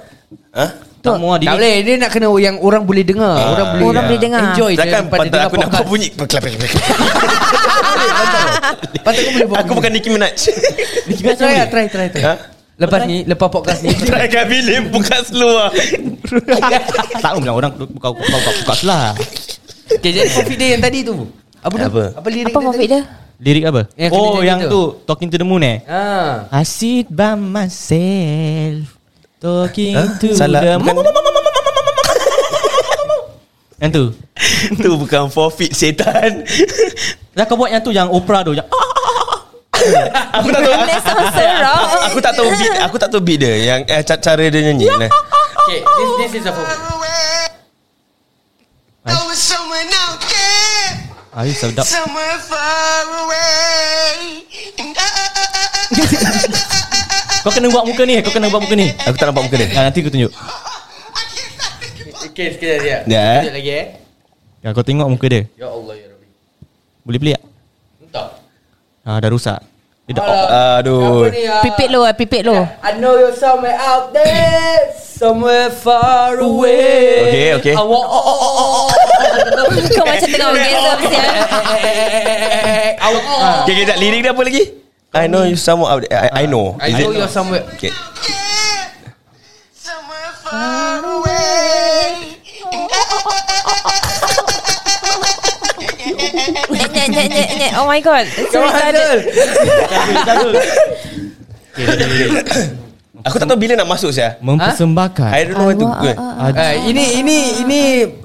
[SPEAKER 3] Ha?
[SPEAKER 4] Tak mahu
[SPEAKER 2] Tak boleh Dia nak kena yang orang boleh dengar Orang boleh
[SPEAKER 5] Orang boleh dengar.
[SPEAKER 2] Enjoy je
[SPEAKER 3] Takkan
[SPEAKER 2] daripada
[SPEAKER 3] patut
[SPEAKER 2] dengar
[SPEAKER 3] aku nak buat
[SPEAKER 2] podcast.
[SPEAKER 3] bunyi.
[SPEAKER 2] Patut kau boleh buat
[SPEAKER 3] Aku
[SPEAKER 2] bunyi.
[SPEAKER 3] bukan Nicki Minaj.
[SPEAKER 2] Try lah, try try try
[SPEAKER 3] Ha?
[SPEAKER 2] Lepas ni Lepas podcast ni
[SPEAKER 3] Try kat bilik bukan slow lah.
[SPEAKER 4] Tak boleh orang buka buka buka buka lah
[SPEAKER 2] Okay jadi forfeit dia yang tadi tu Apa tu?
[SPEAKER 3] Apa?
[SPEAKER 2] Apa lirik
[SPEAKER 5] Apa konflik dia?
[SPEAKER 4] Lirik apa?
[SPEAKER 2] Yang kena
[SPEAKER 4] oh
[SPEAKER 2] nyanyi
[SPEAKER 4] yang
[SPEAKER 2] tu.
[SPEAKER 4] tu. Talking to the moon eh
[SPEAKER 2] Ha.
[SPEAKER 4] I sit by myself Talking
[SPEAKER 3] Huh?
[SPEAKER 4] to
[SPEAKER 3] Salah.
[SPEAKER 4] the
[SPEAKER 3] Bukan.
[SPEAKER 4] Yang tu
[SPEAKER 3] Tu bukan forfeit setan.
[SPEAKER 4] Dah Lah, kau buat yang tu Yang opera tu yang, ah,
[SPEAKER 3] Aku tak tahu.
[SPEAKER 5] That sounds so wrong
[SPEAKER 3] Aku tak tahu beat Aku tak tahu beat dia Yang eh, ca- cara dia nyanyi nah.
[SPEAKER 2] Okay this, this is a forfeit
[SPEAKER 7] Oh, it's somewhere out there,
[SPEAKER 4] ah, you sedap
[SPEAKER 7] somewhere far away. And I, I, I, I, I,
[SPEAKER 4] Kau kena buat muka ni Kau kena buat muka ni
[SPEAKER 3] Aku tak nampak muka dia
[SPEAKER 4] ah, Nanti aku tunjuk
[SPEAKER 7] I can't stop thinking about
[SPEAKER 2] Okay sekejap sekejap
[SPEAKER 3] Ya, eh.
[SPEAKER 2] Sekejap lagi eh
[SPEAKER 4] ya, Kau tengok muka dia
[SPEAKER 2] Ya Allah ya Rabbi
[SPEAKER 4] Boleh beli tak?
[SPEAKER 2] Entah
[SPEAKER 4] Ah, dah rusak Dia dah
[SPEAKER 3] Aduh
[SPEAKER 2] ah?
[SPEAKER 5] Pipit low eh Pipit low
[SPEAKER 2] I know you're somewhere out there Somewhere far away
[SPEAKER 3] Okay, okay.
[SPEAKER 2] I want oh, oh, oh, oh, oh.
[SPEAKER 5] Kau macam tengah orgasm sial
[SPEAKER 2] I want oh.
[SPEAKER 3] Okay, okay, jap. Lirik dia apa lagi? I know you somewhere out there. I, I know.
[SPEAKER 2] I
[SPEAKER 3] Is
[SPEAKER 2] know
[SPEAKER 3] it-
[SPEAKER 2] you're somewhere
[SPEAKER 3] Okay.
[SPEAKER 7] there, somewhere far away. And I, I, I, I,
[SPEAKER 5] Nyet, nyet, nyet, nyet, nyet. Oh my god It's so retarded
[SPEAKER 4] Okay, dah, dah, dah. Okay, dah, dah, dah.
[SPEAKER 3] Aku tak tahu bila nak masuk saya.
[SPEAKER 4] Mempersembahkan
[SPEAKER 3] I don't know when to
[SPEAKER 5] Awak,
[SPEAKER 3] go.
[SPEAKER 5] ah, ah.
[SPEAKER 4] Ad-
[SPEAKER 2] Uh, ini ini ini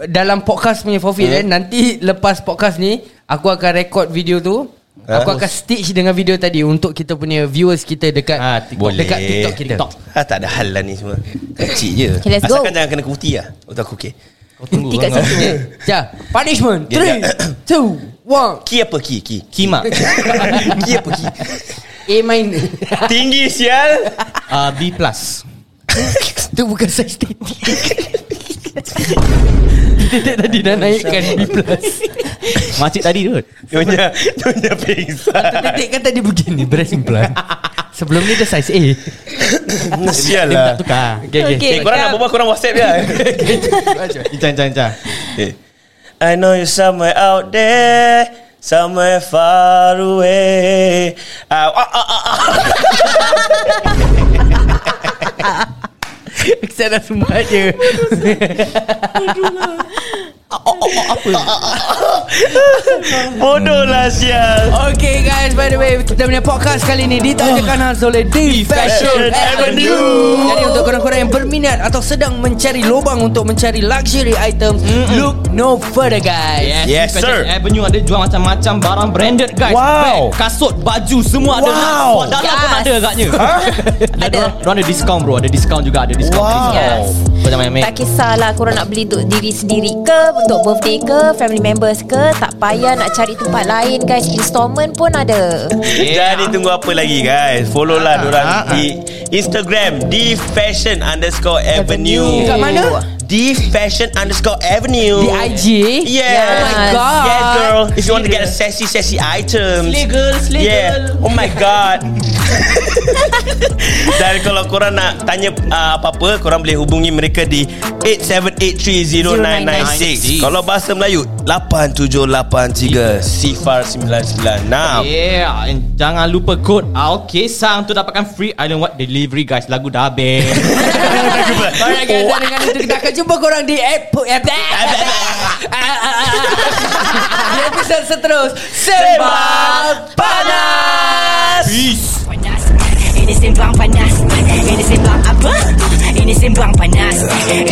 [SPEAKER 2] dalam podcast punya forfeit eh. Nanti lepas podcast ni aku akan rekod video tu. Aku akan stitch dengan video tadi untuk kita punya viewers kita dekat
[SPEAKER 4] Ah, TikTok.
[SPEAKER 2] dekat TikTok kita.
[SPEAKER 4] TikTok.
[SPEAKER 3] Eh, Ah, tak ada hal lah ni semua. Kecil je.
[SPEAKER 5] Okay, let's go.
[SPEAKER 3] Asalkan jangan kena kuti lah. Untuk aku okay.
[SPEAKER 4] Kau tunggu
[SPEAKER 5] Tiga
[SPEAKER 4] kau.
[SPEAKER 5] satu.
[SPEAKER 2] Ja, punishment.
[SPEAKER 3] Dia
[SPEAKER 2] 3 2 1.
[SPEAKER 3] Ki apa ki? Ki.
[SPEAKER 4] Kima
[SPEAKER 3] Ki apa ki?
[SPEAKER 2] A minor.
[SPEAKER 3] Tinggi sial.
[SPEAKER 4] uh, B plus
[SPEAKER 2] Itu bukan size titik. Titik tadi dah naikkan B+.
[SPEAKER 4] Makcik tadi tu
[SPEAKER 3] Nyonya, nyonya pingsan.
[SPEAKER 2] Titik kan tadi begini breast implant. Sebelum ni dia size A.
[SPEAKER 3] Sial
[SPEAKER 4] Dia
[SPEAKER 3] lah.
[SPEAKER 4] tak tukar
[SPEAKER 2] Okay, okay.
[SPEAKER 5] Okay.
[SPEAKER 3] Eh, korang nak berbual, korang WhatsApp je.
[SPEAKER 4] Incan, incan, incan
[SPEAKER 3] Eh. I know you somewhere out there Somewhere far away uh, ah, ah, ah, ah.
[SPEAKER 2] Saya dah semua je.
[SPEAKER 3] Bodoh lah sial
[SPEAKER 2] Okay guys, by the way, kita punya podcast kali ni ditajakan khas oleh The Fashion
[SPEAKER 3] Fashion Avenue.
[SPEAKER 2] Avenue. Jadi untuk korang-korang yang berminat atau sedang mencari lubang untuk mencari luxury items, look no further guys.
[SPEAKER 3] Yes,
[SPEAKER 4] Fashion
[SPEAKER 3] sir.
[SPEAKER 4] Avenue Eh, ada jual macam-macam barang branded guys
[SPEAKER 3] Wow.
[SPEAKER 4] Bag, kasut, baju semua ada
[SPEAKER 3] Wow.
[SPEAKER 4] Suat darah
[SPEAKER 5] Yes.
[SPEAKER 4] pun ada agaknya Ada Diorang ada discount bro Ada discount juga Ada discount
[SPEAKER 3] Wow.
[SPEAKER 5] Yes.
[SPEAKER 4] Macam main-main
[SPEAKER 5] Tak kisahlah korang nak beli untuk diri sendiri ke Untuk birthday ke Family members ke Tak payah nak cari tempat lain guys Installment pun ada
[SPEAKER 3] Jadi tunggu apa lagi guys Follow lah dorang
[SPEAKER 4] ah,
[SPEAKER 3] di Instagram Di fashion underscore avenue
[SPEAKER 2] Kat mana?
[SPEAKER 3] Di fashion underscore avenue
[SPEAKER 2] Di IG.
[SPEAKER 3] Yeah
[SPEAKER 5] Oh my
[SPEAKER 2] God.
[SPEAKER 3] Yes girl If you want to get a sassy sassy items
[SPEAKER 2] Legal,
[SPEAKER 3] Yeah Oh my god Dan kalau korang nak tanya uh, apa-apa Korang boleh hubungi mereka di 87830996 Kalau bahasa Melayu 8783 Sifar 996
[SPEAKER 4] Yeah And jangan lupa kod AOK Sang Untuk dapatkan free islandwide delivery guys Lagu dah habis
[SPEAKER 2] Alright guys, dan dengan itu kita akan jumpa korang di ep- ep- di episode seterus Sembang Panas
[SPEAKER 4] Peace
[SPEAKER 6] panas Ini sembang panas Ini sembang apa? Ini sembang panas